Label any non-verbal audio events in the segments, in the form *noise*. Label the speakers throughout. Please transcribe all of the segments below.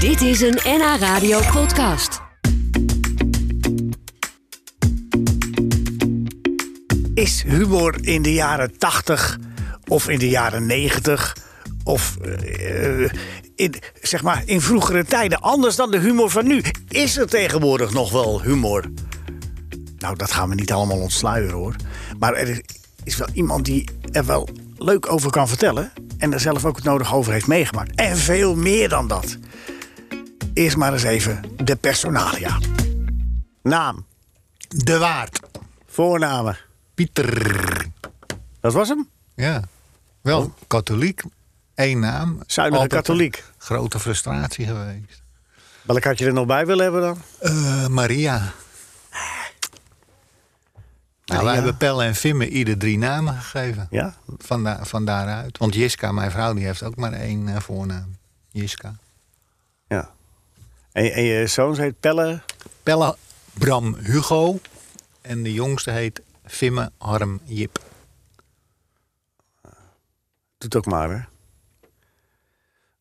Speaker 1: Dit is een NH Radio podcast.
Speaker 2: Is humor in de jaren 80 of in de jaren 90 of eh, in, zeg maar in vroegere tijden anders dan de humor van nu? Is er tegenwoordig nog wel humor? Nou, dat gaan we niet allemaal ontsluieren hoor. Maar er is, is wel iemand die er wel leuk over kan vertellen. En er zelf ook het nodig over heeft meegemaakt. En veel meer dan dat. Eerst maar eens even de personalia. Naam,
Speaker 3: De Waard.
Speaker 2: voornamen.
Speaker 3: Pieter.
Speaker 2: Dat was hem?
Speaker 3: Ja. Wel katholiek. Eén naam.
Speaker 2: Oh. Zuinige
Speaker 3: Altijd een
Speaker 2: katholiek.
Speaker 3: Grote frustratie geweest.
Speaker 2: Welk had je er nog bij willen hebben dan?
Speaker 3: Eh, Maria. Nou, wij hebben Pelle en Vimme ieder drie namen gegeven.
Speaker 2: Ja?
Speaker 3: Van, da- van daaruit. Want Jiska, mijn vrouw, die heeft ook maar één eh, voornaam. Jiska.
Speaker 2: Ja. En, en je zoon heet Pelle.
Speaker 3: Pelle Bram Hugo. En de jongste heet Vimme Harm Jip.
Speaker 2: Doet ook maar, hè?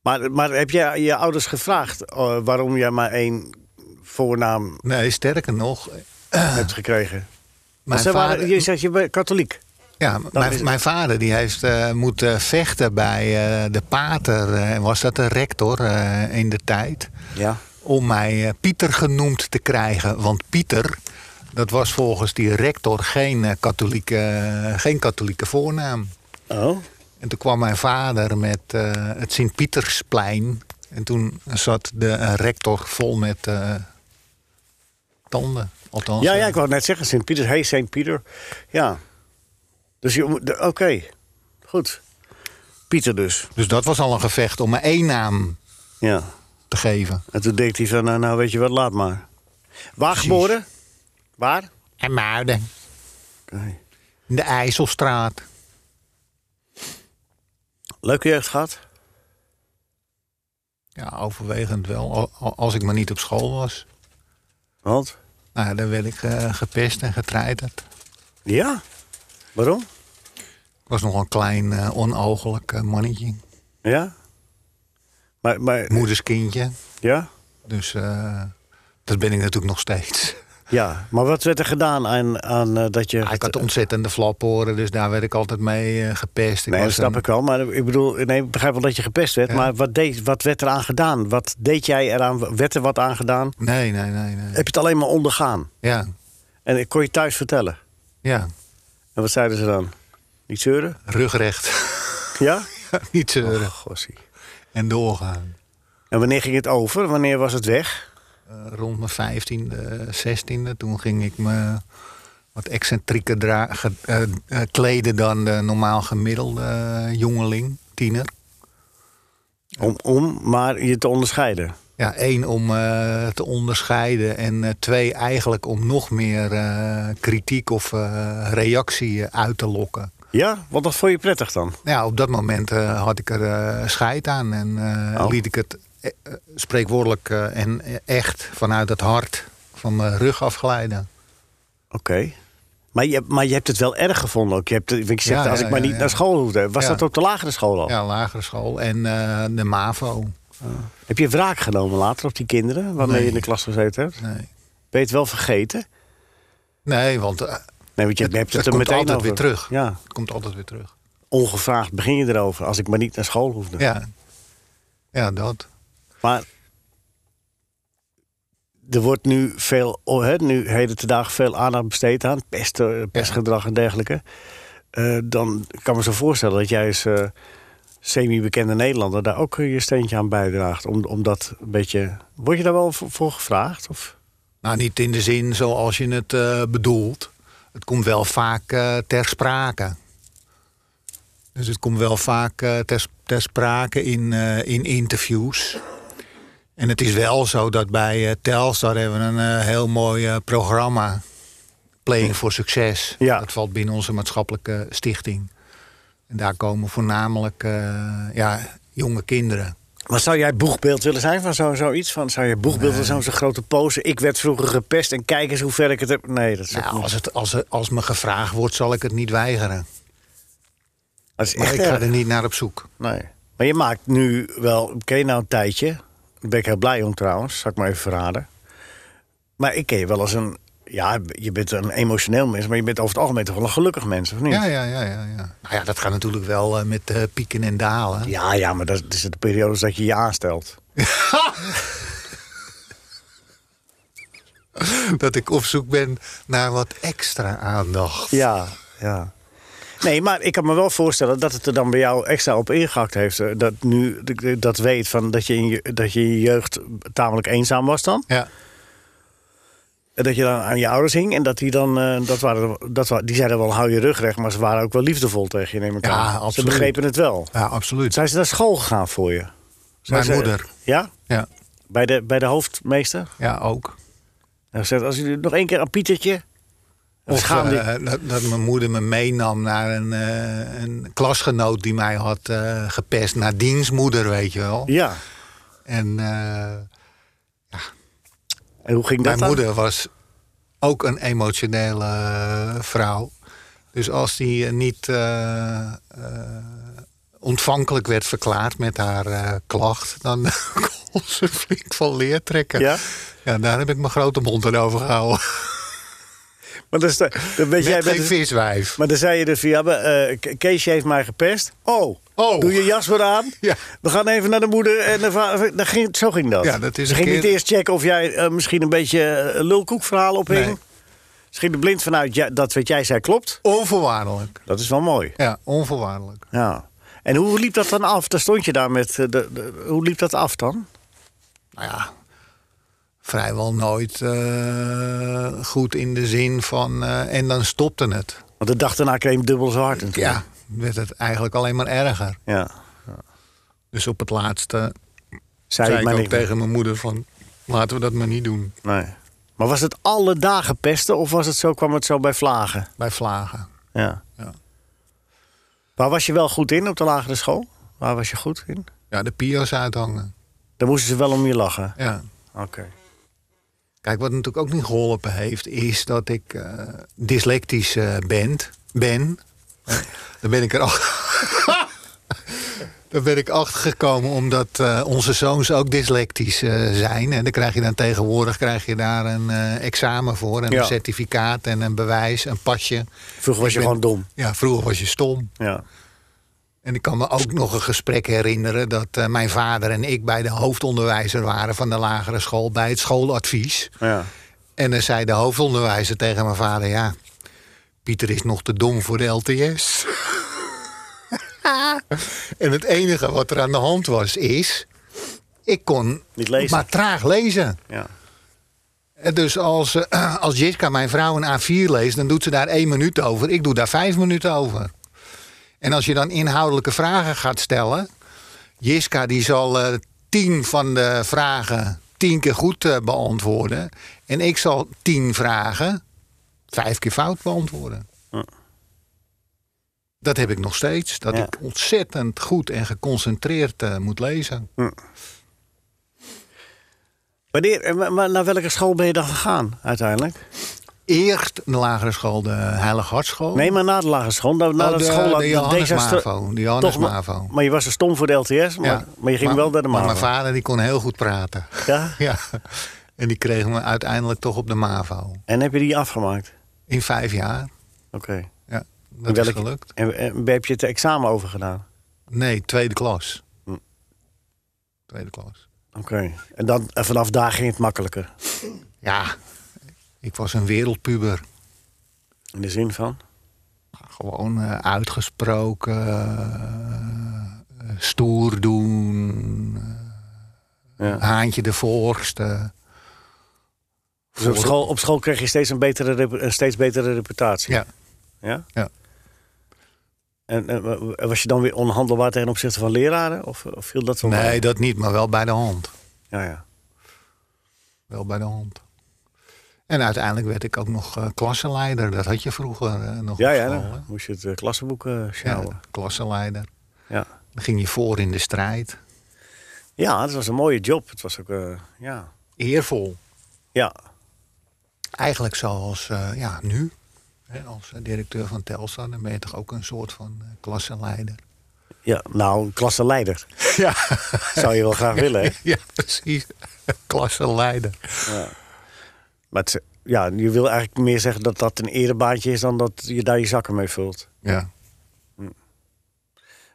Speaker 2: Maar, maar heb jij je ouders gevraagd eh, waarom jij maar één voornaam
Speaker 3: Nee, sterker nog. eh,
Speaker 2: hebt gekregen? Maar
Speaker 3: Mijn
Speaker 2: ze
Speaker 3: vader,
Speaker 2: waren, je zegt je bent katholiek.
Speaker 3: Ja,
Speaker 2: is het.
Speaker 3: mijn, mijn vader die heeft eh, moeten vechten bij eh, de pater, eh, was dat de rector eh, in de tijd,
Speaker 2: Ja.
Speaker 3: om mij eh, Pieter genoemd te krijgen. Want Pieter, dat was volgens die rector geen, eh, katholieke, eh, geen katholieke voornaam.
Speaker 2: Oh.
Speaker 3: En toen kwam mijn vader met eh, het Sint-Pietersplein. En toen zat de eh, rector vol met eh, tanden. Althans,
Speaker 2: Ja, ja,
Speaker 3: eh,
Speaker 2: ik wou net zeggen, Sint-Pieter. Hey, Sint-Pieter. Ja. Dus je moet- de- oké. Goed. Pieter dus.
Speaker 3: Dus dat was al een gevecht om maar één naam
Speaker 2: Ja.
Speaker 3: te geven.
Speaker 2: En toen denkt hij van, nou, nou weet je wat, laat maar. Waar geboren? Waar?
Speaker 3: En Muiden. In De IJsselstraat.
Speaker 2: Leuke jeugd gehad?
Speaker 3: Ja, overwegend wel. Al- al- Als ik maar niet op school was.
Speaker 2: Want?
Speaker 3: Nou, ja, dan werd ik eh, gepest en getreiterd.
Speaker 2: Ja. Waarom?
Speaker 3: Ik was nog een klein, eh, onogelijk eh, mannetje.
Speaker 2: Ja. Maar, maar
Speaker 3: Moederskindje.
Speaker 2: ja?
Speaker 3: Dus eh, dat ben ik natuurlijk nog
Speaker 2: *laughs*
Speaker 3: steeds.
Speaker 2: Ja. Maar wat werd er gedaan aan, aan eh, dat je...
Speaker 3: Ah, ik had ontzettende flaphoren, dus daar werd ik altijd mee eh, gepest. Ik
Speaker 2: Nee, dat
Speaker 3: was
Speaker 2: snap
Speaker 3: een-
Speaker 2: ik wel. Maar ik bedoel, nee, ik begrijp wel dat je gepest werd.
Speaker 3: Ja.
Speaker 2: Maar wat, deed, wat werd eraan gedaan? Wat deed jij eraan? Werd er wat aan gedaan?
Speaker 3: Nee, nee, nee. nee.
Speaker 2: Heb je het alleen maar ondergaan?
Speaker 3: Ja,
Speaker 2: En ik kon je thuis vertellen.
Speaker 3: ja.
Speaker 2: En wat zeiden ze dan? Niet zeuren?
Speaker 3: Rugrecht. *laughs*
Speaker 2: Ja?
Speaker 3: Niet zeuren.
Speaker 2: Och, gossie.
Speaker 3: En doorgaan.
Speaker 2: En wanneer ging het over? Wanneer was het weg?
Speaker 3: Eh, rond mijn vijftiende, zestiende. Toen ging ik me wat excentrieker dra- ge- eh, eh, kleden dan de normaal gemiddelde eh, jongeling, tiener.
Speaker 2: Om, om maar je te onderscheiden.
Speaker 3: Ja, één om eh, te onderscheiden en eh, twee eigenlijk om nog meer eh, kritiek of eh, reactie eh, uit te lokken. Nou
Speaker 2: Ja? Want dat vond je prettig dan?
Speaker 3: Ja, op dat moment eh, had ik er eh, scheid aan en eh,
Speaker 2: Oh.
Speaker 3: liet ik het eh, eh, spreekwoordelijk eh, en eh, echt vanuit het hart van mijn rug afglijden.
Speaker 2: Oké. Maar, je, maar je hebt het wel erg gevonden ook. Je hebt, want je zegt,
Speaker 3: Ja,
Speaker 2: als
Speaker 3: ja,
Speaker 2: ik maar
Speaker 3: ja,
Speaker 2: niet
Speaker 3: ja.
Speaker 2: naar school hoefde. Was
Speaker 3: Ja.
Speaker 2: dat op de lagere school al?
Speaker 3: Ja, lagere school en eh, de MAVO.
Speaker 2: Heb je wraak genomen later op die kinderen waarmee
Speaker 3: Nee.
Speaker 2: je in de klas gezeten hebt?
Speaker 3: Nee,
Speaker 2: Ben je het wel vergeten?
Speaker 3: nee want eh,
Speaker 2: Nee, want je
Speaker 3: Het-
Speaker 2: hebt het,
Speaker 3: het
Speaker 2: er
Speaker 3: komt
Speaker 2: meteen
Speaker 3: altijd
Speaker 2: over.
Speaker 3: weer terug.
Speaker 2: Ja,
Speaker 3: het komt altijd weer terug.
Speaker 2: ongevraagd begin je erover. Als ik maar niet naar school hoefde.
Speaker 3: Ja, ja dat.
Speaker 2: Maar er wordt nu veel, oh, hè, nu heden te dagen veel aandacht besteed aan pesten, pestgedrag en dergelijke. Eh, dan kan ik me zo voorstellen dat jij als eh, semi-bekende Nederlander daar ook eh, je steentje aan bijdraagt. Om, om dat een beetje. Word je daar wel voor, voor gevraagd? Of?
Speaker 3: Nou, niet in de zin zoals je het eh, bedoelt. Het komt wel vaak eh, ter sprake. Dus het komt wel vaak eh, ter, ter sprake in, eh, in interviews. En het is wel zo dat bij eh, Telstar hebben we een eh, heel mooi eh, programma. Playing for Success.
Speaker 2: Ja.
Speaker 3: Dat valt binnen onze maatschappelijke stichting. En daar komen voornamelijk eh, ja, jonge kinderen.
Speaker 2: Maar zou jij boegbeeld willen zijn van zo- zoiets? van, zou je boegbeeld willen zijn van zo'n grote pose? Ik werd vroeger gepest en kijk eens hoe ver ik het heb. Nee, dat is ook
Speaker 3: Nou,
Speaker 2: niet.
Speaker 3: als, het, als, er- als me gevraagd wordt, zal ik het niet weigeren.
Speaker 2: Dat is
Speaker 3: Maar
Speaker 2: echt
Speaker 3: ik ga
Speaker 2: erg.
Speaker 3: er niet naar op zoek.
Speaker 2: Nee. Maar je maakt nu wel, ken je nou een tijdje? Daar ben ik heel blij om trouwens, zal ik maar even verraden. Maar ik ken je wel als een... Ja, je bent een emotioneel mens, maar je bent over het algemeen toch wel een gelukkig mens, of niet?
Speaker 3: Ja, ja, ja, ja, ja. Nou ja, dat gaat natuurlijk wel eh, met eh, pieken en dalen.
Speaker 2: Ja, ja, maar dat is de periode dat je je aanstelt.
Speaker 3: *laughs* Dat ik op zoek ben naar wat extra aandacht.
Speaker 2: Ja, ja. Nee, maar ik kan me wel voorstellen dat het er dan bij jou extra op ingehakt heeft. eh, Dat nu d- dat weet van dat je in je, dat je in je jeugd tamelijk eenzaam was dan.
Speaker 3: Ja.
Speaker 2: En dat je dan aan je ouders hing. En dat die dan, eh, dat waren, dat wa- die zeiden wel hou je rug recht. Maar ze waren ook wel liefdevol tegen je, neem ik
Speaker 3: Ja,
Speaker 2: aan. Ze
Speaker 3: absoluut.
Speaker 2: begrepen het wel.
Speaker 3: ja, absoluut.
Speaker 2: Zijn ze naar school gegaan voor je? Zijn
Speaker 3: Mijn
Speaker 2: ze-
Speaker 3: moeder.
Speaker 2: Ja?
Speaker 3: Ja,
Speaker 2: Bij de, bij de hoofdmeester?
Speaker 3: ja ook.
Speaker 2: En gezegd, als jullie nog één keer aan Pietertje... dan
Speaker 3: Of
Speaker 2: gaan we-
Speaker 3: eh, dat, dat mijn moeder me meenam naar een, eh, een klasgenoot die mij had eh, gepest. Naar dienstmoeder, weet je wel.
Speaker 2: Ja.
Speaker 3: En eh,
Speaker 2: En hoe ging dat
Speaker 3: mijn
Speaker 2: dan?
Speaker 3: moeder was ook een emotionele eh, vrouw. Dus als die eh, niet eh, eh, ontvankelijk werd verklaard met haar eh, klacht... dan *laughs* kon ze flink van leer trekken.
Speaker 2: Ja?
Speaker 3: Ja, daar heb ik mijn grote mond aan overgehouden.
Speaker 2: Maar dat is de, dan ben
Speaker 3: Jij *laughs*
Speaker 2: jij
Speaker 3: bent
Speaker 2: met
Speaker 3: geen viswijf.
Speaker 2: Maar dan zei je dus van, ja, maar, eh, Ke- Keesje heeft mij gepest. Oh,
Speaker 3: Oh.
Speaker 2: doe je jas weer aan.
Speaker 3: *laughs* Ja.
Speaker 2: We gaan even naar de moeder. En de vader. Dan ging, zo ging dat.
Speaker 3: Ja, dat is
Speaker 2: Ze
Speaker 3: een
Speaker 2: ging
Speaker 3: keer-
Speaker 2: niet eerst checken of jij eh, misschien een beetje eh, lulkoekverhaal ophing.
Speaker 3: Nee.
Speaker 2: Ze ging er blind vanuit, ja, dat wat jij zei klopt.
Speaker 3: Onvoorwaardelijk.
Speaker 2: Dat is wel mooi.
Speaker 3: Ja, onvoorwaardelijk.
Speaker 2: Ja. En hoe liep dat dan af? Daar stond je daar met... eh, De, de- hoe liep dat af dan?
Speaker 3: Nou ja, vrijwel nooit eh, goed in de zin van... eh, en dan stopte het.
Speaker 2: Want de dag daarna kreeg je hem dubbel zo hard. natuurlijk.
Speaker 3: Ja, werd het eigenlijk alleen maar erger.
Speaker 2: ja.
Speaker 3: Dus op het laatste
Speaker 2: Zei,
Speaker 3: zei
Speaker 2: ik
Speaker 3: ik
Speaker 2: maar
Speaker 3: ook
Speaker 2: niet meer.
Speaker 3: tegen mijn moeder van... laten we dat maar niet doen
Speaker 2: Nee. Maar was het alle dagen pesten of was het zo, kwam het zo bij vlagen?
Speaker 3: bij vlagen.
Speaker 2: Ja.
Speaker 3: Ja.
Speaker 2: Waar was je wel goed in op de lagere school? Waar was je goed in?
Speaker 3: Ja, de pio's uithangen.
Speaker 2: Daar moesten ze wel om je lachen.
Speaker 3: Ja.
Speaker 2: Oké.
Speaker 3: Kijk, wat natuurlijk ook niet geholpen heeft, is dat ik eh, dyslectisch eh, ben. ben. Eh, Daar ben ik er al. *laughs* Daar ben ik achter gekomen omdat eh, onze zoons ook dyslectisch eh, zijn. En dan krijg je dan tegenwoordig krijg je daar een eh, examen voor. En
Speaker 2: Ja.
Speaker 3: een certificaat en een bewijs, een pasje.
Speaker 2: Vroeger was je
Speaker 3: ben-
Speaker 2: gewoon dom.
Speaker 3: Ja, vroeger was je stom.
Speaker 2: Ja.
Speaker 3: En ik kan me ook nog een gesprek herinneren dat eh, mijn vader en ik bij de hoofdonderwijzer waren van de lagere school bij het schooladvies.
Speaker 2: ja.
Speaker 3: En dan zei de hoofdonderwijzer tegen mijn vader: Ja, Pieter is nog te dom voor de LTS. *laughs* en het enige wat er aan de hand was, is. Ik kon
Speaker 2: Niet lezen.
Speaker 3: maar traag lezen.
Speaker 2: Ja.
Speaker 3: En Dus als, eh, *clears throat* als Jiska, mijn vrouw, een A4 leest, dan doet ze daar één minuut over. Ik doe daar vijf minuten over. En als je dan inhoudelijke vragen gaat stellen. Jiska die zal eh, tien van de vragen tien keer goed eh, beantwoorden. En ik zal tien vragen vijf keer fout beantwoorden.
Speaker 2: Ja.
Speaker 3: Dat heb ik nog steeds. Dat
Speaker 2: Ja.
Speaker 3: ik ontzettend goed en geconcentreerd eh, moet lezen.
Speaker 2: Wanneer, en wa- maar naar welke school ben je dan gegaan uiteindelijk?
Speaker 3: Eerst de lagere school, de Heilig Hartschool.
Speaker 2: Nee, maar na de lagere school. Na, na
Speaker 3: Oh,
Speaker 2: Nou, de,
Speaker 3: de-
Speaker 2: school
Speaker 3: de Johannes Mavo, de Johannes
Speaker 2: maar-
Speaker 3: Mavo.
Speaker 2: Maar je was er stom voor de LTS, maar,
Speaker 3: Ja.
Speaker 2: maar je ging wel naar de
Speaker 3: maar
Speaker 2: MAVO.
Speaker 3: mijn vader die kon heel goed praten. *laughs*
Speaker 2: Ja?
Speaker 3: Ja. En die kreeg me uiteindelijk toch op de MAVO.
Speaker 2: En heb je die afgemaakt?
Speaker 3: In vijf jaar.
Speaker 2: Oké.
Speaker 3: Ja, dat
Speaker 2: Welk-
Speaker 3: is gelukt.
Speaker 2: En, en heb je het examen over gedaan?
Speaker 3: Nee, tweede klas.
Speaker 2: Hm.
Speaker 3: Tweede klas.
Speaker 2: Oké. En dan en vanaf daar ging het makkelijker.
Speaker 3: Ja, ik was een wereldpuber.
Speaker 2: In de zin van?
Speaker 3: Gewoon eh, uitgesproken, eh, stoer doen, eh,
Speaker 2: Ja.
Speaker 3: haantje de voorste.
Speaker 2: Dus op school, op school kreeg je steeds een, betere, rep- een steeds betere reputatie.
Speaker 3: Ja,
Speaker 2: Ja?
Speaker 3: Ja.
Speaker 2: En, en wa- wa- was je dan weer onhandelbaar ten opzichte van leraren? Of, of viel dat wel mee?
Speaker 3: nee, dat niet, maar wel bij de hand.
Speaker 2: Ja, ja.
Speaker 3: wel bij de hand. En uiteindelijk werd ik ook nog eh klassenleider. Dat had je vroeger eh, nog
Speaker 2: ja,
Speaker 3: op
Speaker 2: ja
Speaker 3: school, hè?
Speaker 2: dan moest je het eh, klassenboek eh sjouwen.
Speaker 3: ja, klassenleider.
Speaker 2: Ja.
Speaker 3: Dan ging je voor in de strijd.
Speaker 2: ja, dat was een mooie job. Het was ook, eh, ja.
Speaker 3: Eervol.
Speaker 2: Ja,
Speaker 3: Eigenlijk zoals eh, ja, nu. Hè, als eh, directeur van Telstar, dan ben je toch ook een soort van eh, klassenleider.
Speaker 2: Ja, nou, een klasseleider.
Speaker 3: Ja,
Speaker 2: Zou je wel graag willen, hè?
Speaker 3: *laughs* ja precies. Klassenleider.
Speaker 2: Maar het, is- ja, je wil eigenlijk meer zeggen dat dat een erebaantje is... dan dat je daar je zakken mee vult.
Speaker 3: Ja,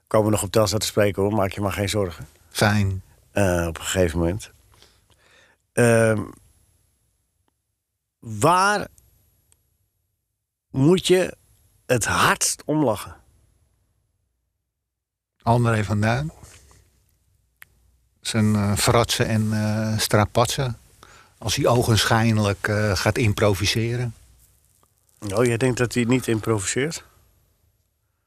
Speaker 2: Komen we nog op Telstra te spreken, hoor. Maak je maar geen zorgen.
Speaker 3: fijn.
Speaker 2: Eh, op een gegeven moment. Ehm, waar moet je het hardst om lachen?
Speaker 3: André van Duin. Zijn eh fratsen en eh strapatsen. Als hij ogenschijnlijk eh, gaat improviseren.
Speaker 2: Oh, jij denkt dat hij niet improviseert?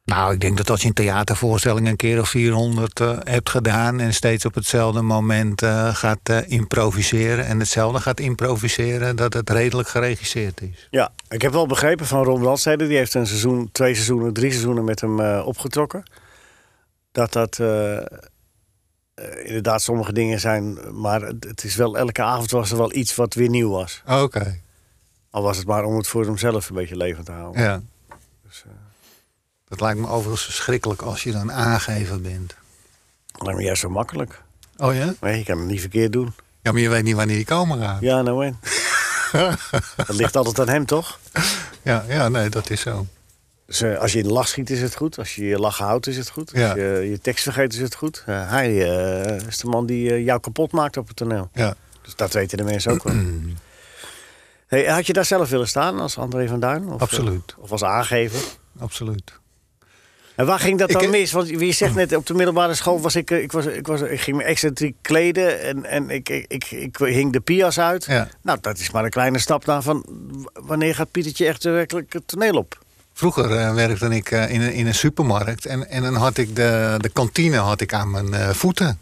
Speaker 3: Nou, ik denk dat als je een theatervoorstelling een keer of 400 eh, hebt gedaan... en steeds op hetzelfde moment eh, gaat eh, improviseren... en hetzelfde gaat improviseren, dat het redelijk geregisseerd is.
Speaker 2: Ja, ik heb wel begrepen van Ron Brandstede. Die heeft een seizoen, twee seizoenen, drie seizoenen met hem eh, opgetrokken. Dat dat eh, eh, inderdaad sommige dingen zijn. Maar het het is wel, elke avond was er wel iets wat weer nieuw was.
Speaker 3: Oké,
Speaker 2: Al was het maar om het voor hemzelf een beetje levend te houden.
Speaker 3: ja. Dus, eh, Dat lijkt me overigens verschrikkelijk als je dan aangever bent.
Speaker 2: Maar juist zo makkelijk.
Speaker 3: Oh ja?
Speaker 2: Nee, je kan het niet verkeerd doen.
Speaker 3: Ja, maar je weet niet wanneer die komen gaat.
Speaker 2: Ja, nou
Speaker 3: *laughs*
Speaker 2: en. dat ligt altijd aan hem, toch?
Speaker 3: Ja, ja, nee, dat is zo.
Speaker 2: Dus, eh, als je in de lach schiet, is het goed. Als je je lach houdt, is het goed.
Speaker 3: Ja.
Speaker 2: Als je je tekst vergeet, is het goed. Eh, hij eh, is de man die eh, jou kapot maakt op het toneel.
Speaker 3: Ja.
Speaker 2: Dus dat weten de mensen
Speaker 3: *clears throat*
Speaker 2: ook wel. Hey, had je daar zelf willen staan als André van Duin? Of, eh,
Speaker 3: Absoluut.
Speaker 2: of als aangever?
Speaker 3: Absoluut.
Speaker 2: En waar ging dat
Speaker 3: Ik eh,
Speaker 2: dan
Speaker 3: heb-
Speaker 2: mis? Want je
Speaker 3: *clears throat*
Speaker 2: zegt net, op de middelbare school was ik... eh, Ik, was, ik, was, ik ging me excentriek kleden en, en ik, ik, ik, ik hing de pias uit.
Speaker 3: Ja.
Speaker 2: Nou, dat is maar een kleine stap naar van... w- wanneer gaat Pietertje echt werkelijk het toneel op?
Speaker 3: Vroeger eh, werkte ik eh, in, een, in een supermarkt en, en dan had ik de, de kantine had ik aan mijn eh, voeten.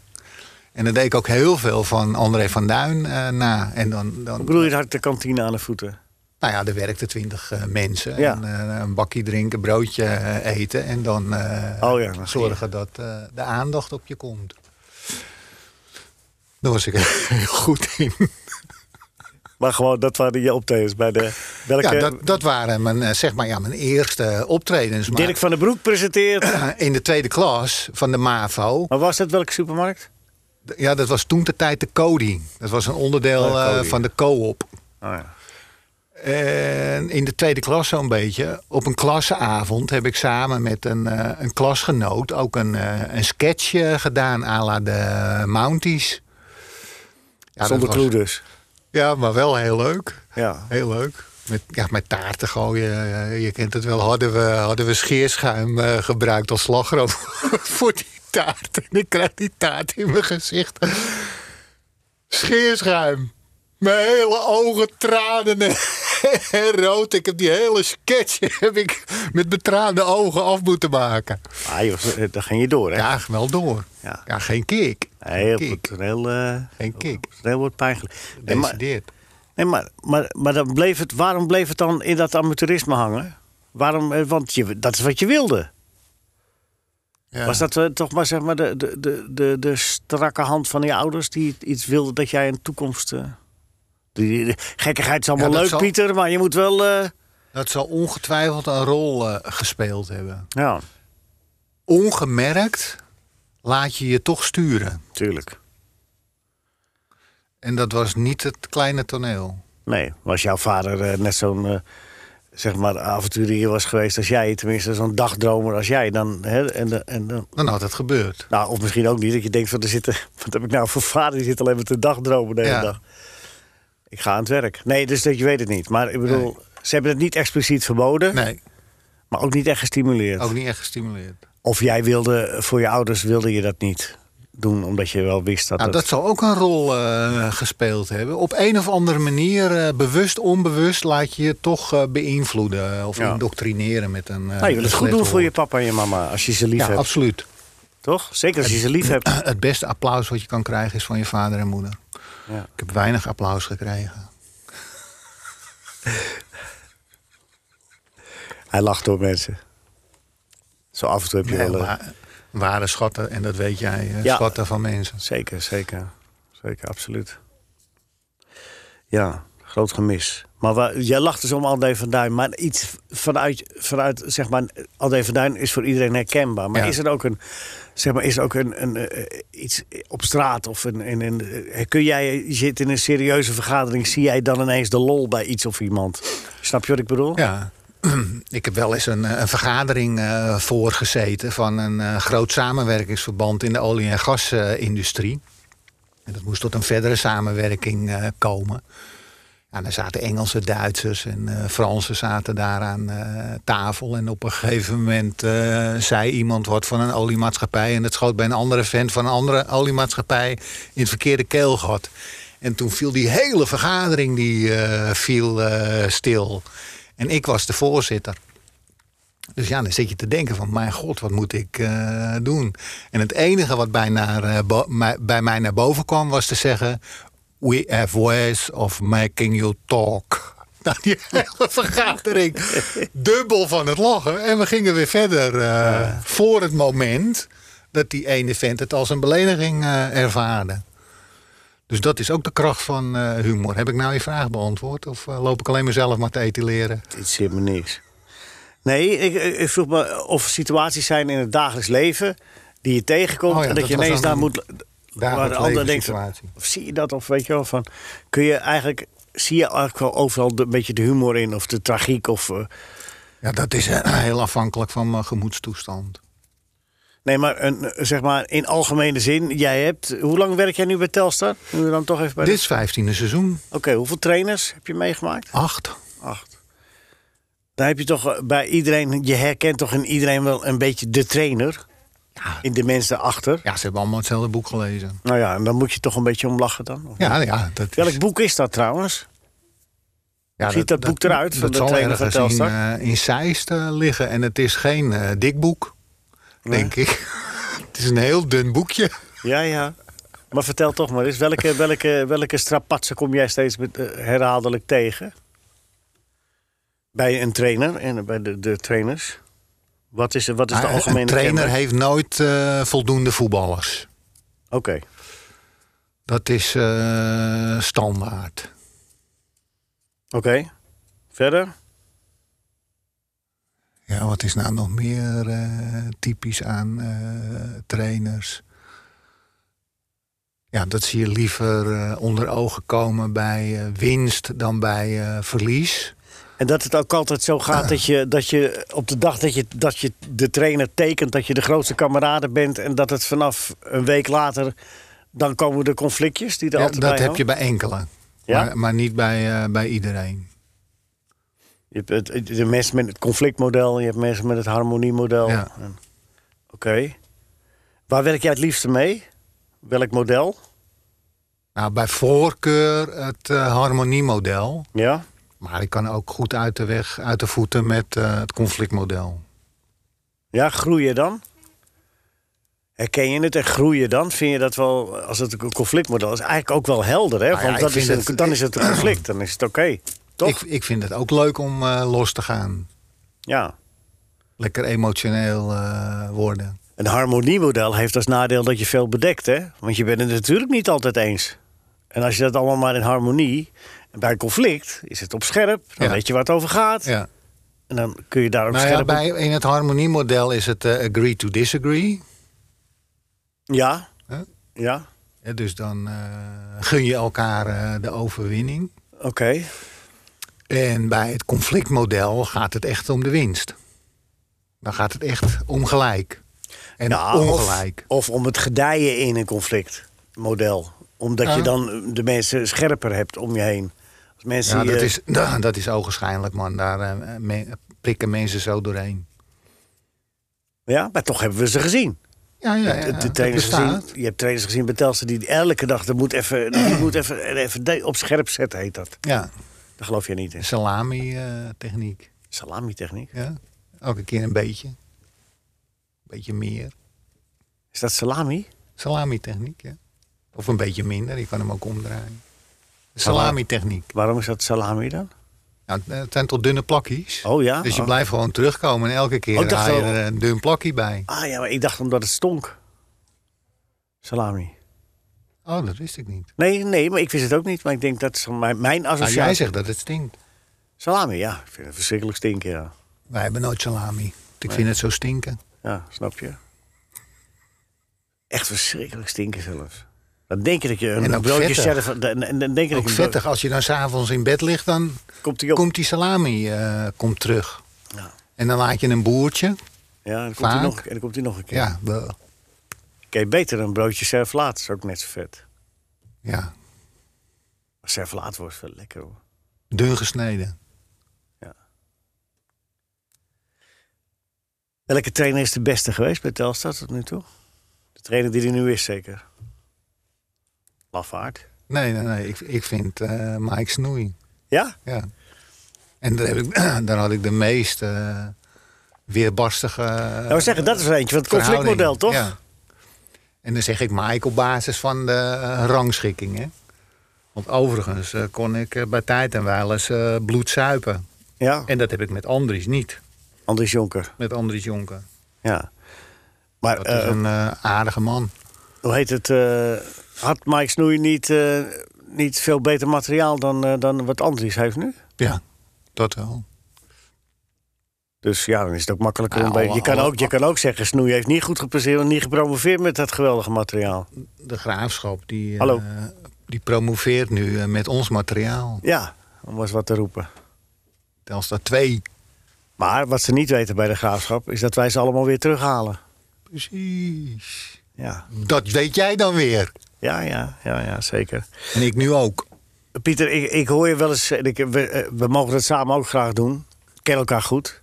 Speaker 3: En dan deed ik ook heel veel van André van Duin eh, na. En dan, dan,
Speaker 2: Ik bedoel, je had de kantine aan de voeten.
Speaker 3: nou ja, er werkten twintig mensen.
Speaker 2: Ja.
Speaker 3: En, eh, een bakje drinken, broodje eh, eten en dan eh,
Speaker 2: Oh ja, dan zie je.
Speaker 3: zorgen dat eh, de aandacht op je komt. Daar was ik *laughs* heel goed in.
Speaker 2: Maar gewoon, dat waren je optredens bij de... Welke,
Speaker 3: *laughs* Ja, dat, dat waren mijn, eh, zeg maar, ja, mijn eerste optredens. Maar
Speaker 2: Dirk van den Broek presenteert.
Speaker 3: *clears throat* in de tweede klas van de MAVO...
Speaker 2: maar was dat welke supermarkt?
Speaker 3: Ja, dat was toen de tijd de Cody. Dat was een onderdeel
Speaker 2: Oh, de Cody.
Speaker 3: eh, van de co-op.
Speaker 2: Oh ja.
Speaker 3: En in de tweede klas zo'n beetje, op een klassenavond, heb ik samen met een, eh, een klasgenoot ook een, eh, een sketch eh, gedaan à la de Mounties. Ja, dat
Speaker 2: Zonder
Speaker 3: was-
Speaker 2: clue dus.
Speaker 3: Ja, maar wel heel leuk.
Speaker 2: Ja.
Speaker 3: Heel leuk. Met, ja, met taarten gooien. eh, Je kent het wel. Hadden we, hadden we scheerschuim eh, gebruikt als slagroom *laughs* voor die taart. En ik krijg die taart in mijn gezicht. Scheerschuim. Mijn hele ogen tranen en- *laughs* en rood. Ik heb die hele sketch *laughs* heb ik met betraande ogen af moeten maken.
Speaker 2: Ah, je was, eh, daar ging je door, hè?
Speaker 3: Ja, wel door.
Speaker 2: Ja.
Speaker 3: Ja, geen kick.
Speaker 2: Nee, op het
Speaker 3: Kick.
Speaker 2: toneel... eh,
Speaker 3: Geen
Speaker 2: op het
Speaker 3: kick.
Speaker 2: toneel wordt pijnlijk. Nee, maar,
Speaker 3: Decideert.
Speaker 2: nee, maar, maar, maar dan bleef het, waarom bleef het dan in dat amateurisme hangen? Waarom, eh, want je, dat is wat je wilde.
Speaker 3: Ja.
Speaker 2: Was dat eh, toch maar, zeg maar de, de, de, de, de strakke hand van je ouders die iets wilden dat jij een toekomst... eh, die, die- gekkigheid is allemaal
Speaker 3: Ja, dat
Speaker 2: leuk,
Speaker 3: zal-
Speaker 2: Pieter, maar je moet wel... eh,
Speaker 3: Dat zal ongetwijfeld een rol eh, gespeeld hebben.
Speaker 2: ja,
Speaker 3: ongemerkt laat je je toch sturen.
Speaker 2: tuurlijk.
Speaker 3: En dat was niet het kleine toneel.
Speaker 2: Nee, was jouw vader eh, net zo'n eh, zeg maar avonturier was geweest als jij, tenminste zo'n dagdromer als jij, dan hè, en, de- en dan.
Speaker 3: Dan had het gebeurd.
Speaker 2: Nou, of misschien ook niet, dat je denkt van, er zitten, *laughs* wat heb ik nou voor vader, die zit alleen maar te dagdromen de hele
Speaker 3: Ja.
Speaker 2: dag. Ik ga aan het werk. Nee, dus dat je weet het niet. Maar ik bedoel, ze hebben het niet expliciet verboden,
Speaker 3: Nee,
Speaker 2: maar ook niet echt gestimuleerd.
Speaker 3: ook niet echt gestimuleerd.
Speaker 2: Of jij wilde, voor je ouders wilde je dat niet doen, omdat je wel wist dat
Speaker 3: Nou,
Speaker 2: het-
Speaker 3: dat zal ook een rol eh, gespeeld hebben. Op een of andere manier, eh, bewust, onbewust, laat je je toch eh, beïnvloeden eh, of
Speaker 2: Ja.
Speaker 3: indoctrineren met een. eh,
Speaker 2: nou, je wil het
Speaker 3: een
Speaker 2: goed doen
Speaker 3: slecht
Speaker 2: voor je
Speaker 3: woord.
Speaker 2: papa en je mama, als je ze lief
Speaker 3: Ja,
Speaker 2: hebt,
Speaker 3: absoluut.
Speaker 2: toch? Zeker als je ze lief
Speaker 3: *clears throat*
Speaker 2: hebt.
Speaker 3: Het beste applaus wat je kan krijgen is van je vader en moeder.
Speaker 2: Ja.
Speaker 3: Ik heb weinig applaus gekregen.
Speaker 2: Hij lacht door mensen. Zo af en toe heb je
Speaker 3: Nee,
Speaker 2: wel... eh,
Speaker 3: wa- ware schatten, en dat weet jij, eh,
Speaker 2: Ja.
Speaker 3: schatten van mensen.
Speaker 2: Zeker, zeker. Zeker, absoluut. Ja, Groot gemis. Maar wa- jij lacht dus om André van Duin. Maar iets vanuit, vanuit zeg maar, André van Duin is voor iedereen herkenbaar. Maar
Speaker 3: Ja.
Speaker 2: is er ook een, zeg maar, is er ook een, een eh, iets op straat of een, een, een eh, kun jij, je zit in een serieuze vergadering, zie jij dan ineens de lol bij iets of iemand? Snap je wat ik bedoel?
Speaker 3: Ja. *clears throat* Ik heb wel eens een, eh, een vergadering eh, voorgezeten van een eh, groot samenwerkingsverband in de olie- en gasindustrie. En dat moest tot een verdere samenwerking eh, komen. Ja, Nou, daar zaten Engelsen, Duitsers en eh, Fransen zaten daar aan eh, tafel. En op een gegeven moment eh, zei iemand wat van een oliemaatschappij. En dat schoot bij een andere vent van een andere oliemaatschappij in het verkeerde keelgat. En toen viel die hele vergadering die, eh, viel, eh, stil. En ik was de voorzitter. Dus ja, dan zit je te denken van, mijn god, wat moet ik eh, doen? En het enige wat bij, naar, eh, bo- mij- bij mij naar boven kwam was te zeggen... We have ways of making you talk. *laughs* Nou, die hele vergadering. Dubbel van het lachen. En we gingen weer verder eh, voor het moment dat die ene vent het als een belediging eh, ervaarde. Dus dat is ook de kracht van eh, humor. Heb ik nou je vraag beantwoord? Of eh, loop ik alleen mezelf maar te etaleren?
Speaker 2: Dit zit me niks. Nee, ik, ik- ik vroeg me of er situaties zijn in het dagelijks leven die je tegenkomt
Speaker 3: Oh ja,
Speaker 2: en dat,
Speaker 3: dat
Speaker 2: je
Speaker 3: was
Speaker 2: ineens
Speaker 3: dan
Speaker 2: daar moet. Waar de ander denkt, van,
Speaker 3: situatie.
Speaker 2: of zie je dat? Of weet je wel, van, kun je eigenlijk, zie je eigenlijk wel overal de- een beetje de humor in of de tragiek? Of, eh,
Speaker 3: Ja, dat is eh, *clears throat* heel afhankelijk van mijn gemoedstoestand.
Speaker 2: nee, maar, een, eh, zeg maar in algemene zin, jij hebt, hoe lang werk jij nu bij Telstar? Nu we dan toch even bij de-
Speaker 3: Dit is vijftiende seizoen.
Speaker 2: Oké, hoeveel trainers heb je meegemaakt?
Speaker 3: Acht.
Speaker 2: Acht. Dan heb je toch eh, bij iedereen, je herkent toch in iedereen wel een beetje de trainer?
Speaker 3: Ja.
Speaker 2: In de mensen daarachter?
Speaker 3: ja, ze hebben allemaal hetzelfde boek gelezen.
Speaker 2: Nou ja, en dan moet je toch een beetje om lachen dan? of
Speaker 3: Ja,
Speaker 2: niet?
Speaker 3: ja. Dat is,
Speaker 2: Welk boek is dat trouwens?
Speaker 3: ja,
Speaker 2: ziet dat boek eruit van
Speaker 3: Dat
Speaker 2: de
Speaker 3: zal
Speaker 2: trainer van
Speaker 3: ergens in,
Speaker 2: Telstar?
Speaker 3: eh, in Zeist eh, liggen. En het is geen eh, dik boek,
Speaker 2: Nee.
Speaker 3: denk ik. *laughs* het is een heel dun boekje.
Speaker 2: Ja, ja. Maar vertel toch maar eens, welke, welke, welke strapatsen kom jij steeds met, eh, herhaaldelijk tegen? Bij een trainer en bij de, de trainers? Wat is, wat is de
Speaker 3: Maar Ah, een-
Speaker 2: algemene
Speaker 3: een trainer
Speaker 2: kenmerk?
Speaker 3: heeft nooit eh, voldoende voetballers.
Speaker 2: Oké,
Speaker 3: Dat is eh, standaard.
Speaker 2: oké. Verder?
Speaker 3: Ja, wat is nou nog meer eh, typisch aan eh, trainers? Ja, dat zie je liever eh, onder ogen komen bij eh, winst dan bij eh, verlies.
Speaker 2: En dat het ook altijd zo gaat dat je, dat je op de dag dat je, dat je de trainer tekent, dat je de grootste kameraden bent. En dat het vanaf een week later, dan komen de conflictjes die er
Speaker 3: Ja,
Speaker 2: altijd
Speaker 3: dat
Speaker 2: bij
Speaker 3: heb je bij enkelen,
Speaker 2: Ja?
Speaker 3: maar, maar niet bij, eh, bij iedereen.
Speaker 2: Je hebt het- het- de mensen met het conflictmodel, je hebt mensen met het harmoniemodel.
Speaker 3: Ja.
Speaker 2: En- Oké. Waar werk jij het liefste mee? Welk model?
Speaker 3: Nou, bij voorkeur het eh, harmoniemodel.
Speaker 2: Ja.
Speaker 3: Maar ik kan ook goed uit de weg, uit de voeten met eh, het conflictmodel.
Speaker 2: Ja, groei je dan? Herken je het en groei je dan? Vind je dat wel, als het een conflictmodel is, eigenlijk ook wel helder, hè?
Speaker 3: Nou ja,
Speaker 2: Want
Speaker 3: ik
Speaker 2: dat is
Speaker 3: vind
Speaker 2: het-
Speaker 3: het-
Speaker 2: dan is het een conflict, dan is het oké. Toch?
Speaker 3: Ik, ik vind het ook leuk om eh, los te gaan.
Speaker 2: Ja.
Speaker 3: Lekker emotioneel eh, worden.
Speaker 2: Een harmoniemodel heeft als nadeel dat je veel bedekt, hè? Want je bent het natuurlijk niet altijd eens. En als je dat allemaal maar in harmonie... en Bij conflict is het op scherp, dan
Speaker 3: Ja.
Speaker 2: weet je waar het over gaat.
Speaker 3: Ja.
Speaker 2: En dan kun je daar ook
Speaker 3: Nou ja,
Speaker 2: scherp op-
Speaker 3: bij, in het harmoniemodel is het eh, agree to disagree.
Speaker 2: Ja.
Speaker 3: Huh?
Speaker 2: Ja,
Speaker 3: Hè, dus dan eh, gun je elkaar eh, de overwinning.
Speaker 2: oké.
Speaker 3: En bij het conflictmodel gaat het echt om de winst. Dan gaat het echt om gelijk. En
Speaker 2: Nou, of-
Speaker 3: ongelijk.
Speaker 2: Of, om het gedijen in een conflictmodel. Omdat
Speaker 3: Ja.
Speaker 2: je dan de mensen scherper hebt om je heen. Als mensen
Speaker 3: ja, dat,
Speaker 2: je-
Speaker 3: is, nou, dat is ogenschijnlijk, man. Daar eh, me- prikken mensen zo doorheen.
Speaker 2: ja, maar toch hebben we ze gezien.
Speaker 3: Ja, ja, ja.
Speaker 2: De- de
Speaker 3: het
Speaker 2: trainers gezien
Speaker 3: bestaat.
Speaker 2: je hebt trainers gezien bij Telstra die elke dag... dat moet even, dat moet even, even de- op scherp zetten, heet dat.
Speaker 3: Ja,
Speaker 2: Daar geloof je niet in.
Speaker 3: salami-techniek.
Speaker 2: Salami-techniek.
Speaker 3: ja. Elke keer een beetje. beetje meer.
Speaker 2: Is dat salami?
Speaker 3: Salami-techniek, ja. Of een beetje minder, je kan hem ook omdraaien. Salami-techniek.
Speaker 2: Waarom is dat salami dan?
Speaker 3: Nou, het zijn tot dunne plakjes.
Speaker 2: Oh ja?
Speaker 3: Dus je
Speaker 2: Oh.
Speaker 3: blijft gewoon terugkomen en elke keer
Speaker 2: Oh, ik dacht
Speaker 3: haal je
Speaker 2: wel-
Speaker 3: er een dun plakje bij.
Speaker 2: Ah ja, maar ik dacht omdat het stonk. Salami.
Speaker 3: Oh, dat wist ik niet.
Speaker 2: Nee, nee, maar ik wist het ook niet. Maar ik denk dat is mijn, mijn
Speaker 3: Nou,
Speaker 2: associatie...
Speaker 3: jij zegt dat het stinkt.
Speaker 2: Salami, ja. Ik vind het verschrikkelijk stinken, ja.
Speaker 3: Wij hebben nooit salami. Ik vind het zo stinken.
Speaker 2: Ja, snap je? Echt verschrikkelijk stinken zelfs. Dan denk je dat je een
Speaker 3: En ook
Speaker 2: broodje
Speaker 3: vettig.
Speaker 2: zelf... Dan, dan dan denk je dat
Speaker 3: Ook
Speaker 2: je een
Speaker 3: vettig, als je dan s'avonds in bed ligt, dan
Speaker 2: brood- Komt hij op.
Speaker 3: komt die salami eh, komt terug.
Speaker 2: Ja.
Speaker 3: En dan laat je een boertje.
Speaker 2: Ja, dan komt, hij
Speaker 3: Vaak.
Speaker 2: nog, en dan komt hij nog een keer.
Speaker 3: Ja, bleh.
Speaker 2: Kijk, beter een broodje servlaat. is ook net zo vet.
Speaker 3: ja.
Speaker 2: Maar servlaat wordt wel lekker hoor.
Speaker 3: dun gesneden.
Speaker 2: Welke trainer is de beste geweest bij Telstar tot nu toe? De trainer die er nu is zeker? Lafaard.
Speaker 3: Nee, nee, nee. Ik, ik vind eh, Mike Snoei.
Speaker 2: Ja?
Speaker 3: Ja. En daar, heb ik, *clears throat* daar had ik de meest eh, weerbarstige.
Speaker 2: Nou, we zeggen, dat is er eentje van het conflictmodel, toch?
Speaker 3: Ja. En dan zeg ik Mike op basis van de eh, rangschikking. Hè? Want overigens eh, kon ik eh, bij tijd en wel eens eh, bloed zuipen.
Speaker 2: Ja.
Speaker 3: En dat heb ik met Andries niet.
Speaker 2: Andries Jonker.
Speaker 3: Met Andries Jonker.
Speaker 2: Ja. Maar
Speaker 3: Dat is
Speaker 2: eh,
Speaker 3: een eh, aardige man.
Speaker 2: hoe heet het? eh, had Mike Snoei niet, eh, niet veel beter materiaal dan, eh, dan wat Andries heeft nu?
Speaker 3: Ja, dat wel.
Speaker 2: Dus ja, dan is het ook makkelijker
Speaker 3: Ja,
Speaker 2: om bij...
Speaker 3: alle-
Speaker 2: Je kan,
Speaker 3: alle-
Speaker 2: ook, je kan ook zeggen, Snoei heeft niet goed gepresteerd... en niet gepromoveerd met dat geweldige materiaal.
Speaker 3: De graafschap die, eh,
Speaker 2: Hallo.
Speaker 3: die promoveert nu eh, met ons materiaal.
Speaker 2: Ja, om eens wat te roepen.
Speaker 3: Telstar 2.
Speaker 2: Maar wat ze niet weten bij de graafschap... is dat wij ze allemaal weer terughalen.
Speaker 3: Precies.
Speaker 2: Ja,
Speaker 3: Dat weet jij dan weer.
Speaker 2: ja, ja, ja, ja zeker.
Speaker 3: En ik nu ook.
Speaker 2: Pieter, ik, ik hoor je wel eens... en ik- we, eh, we mogen dat samen ook graag doen. Ik ken elkaar goed.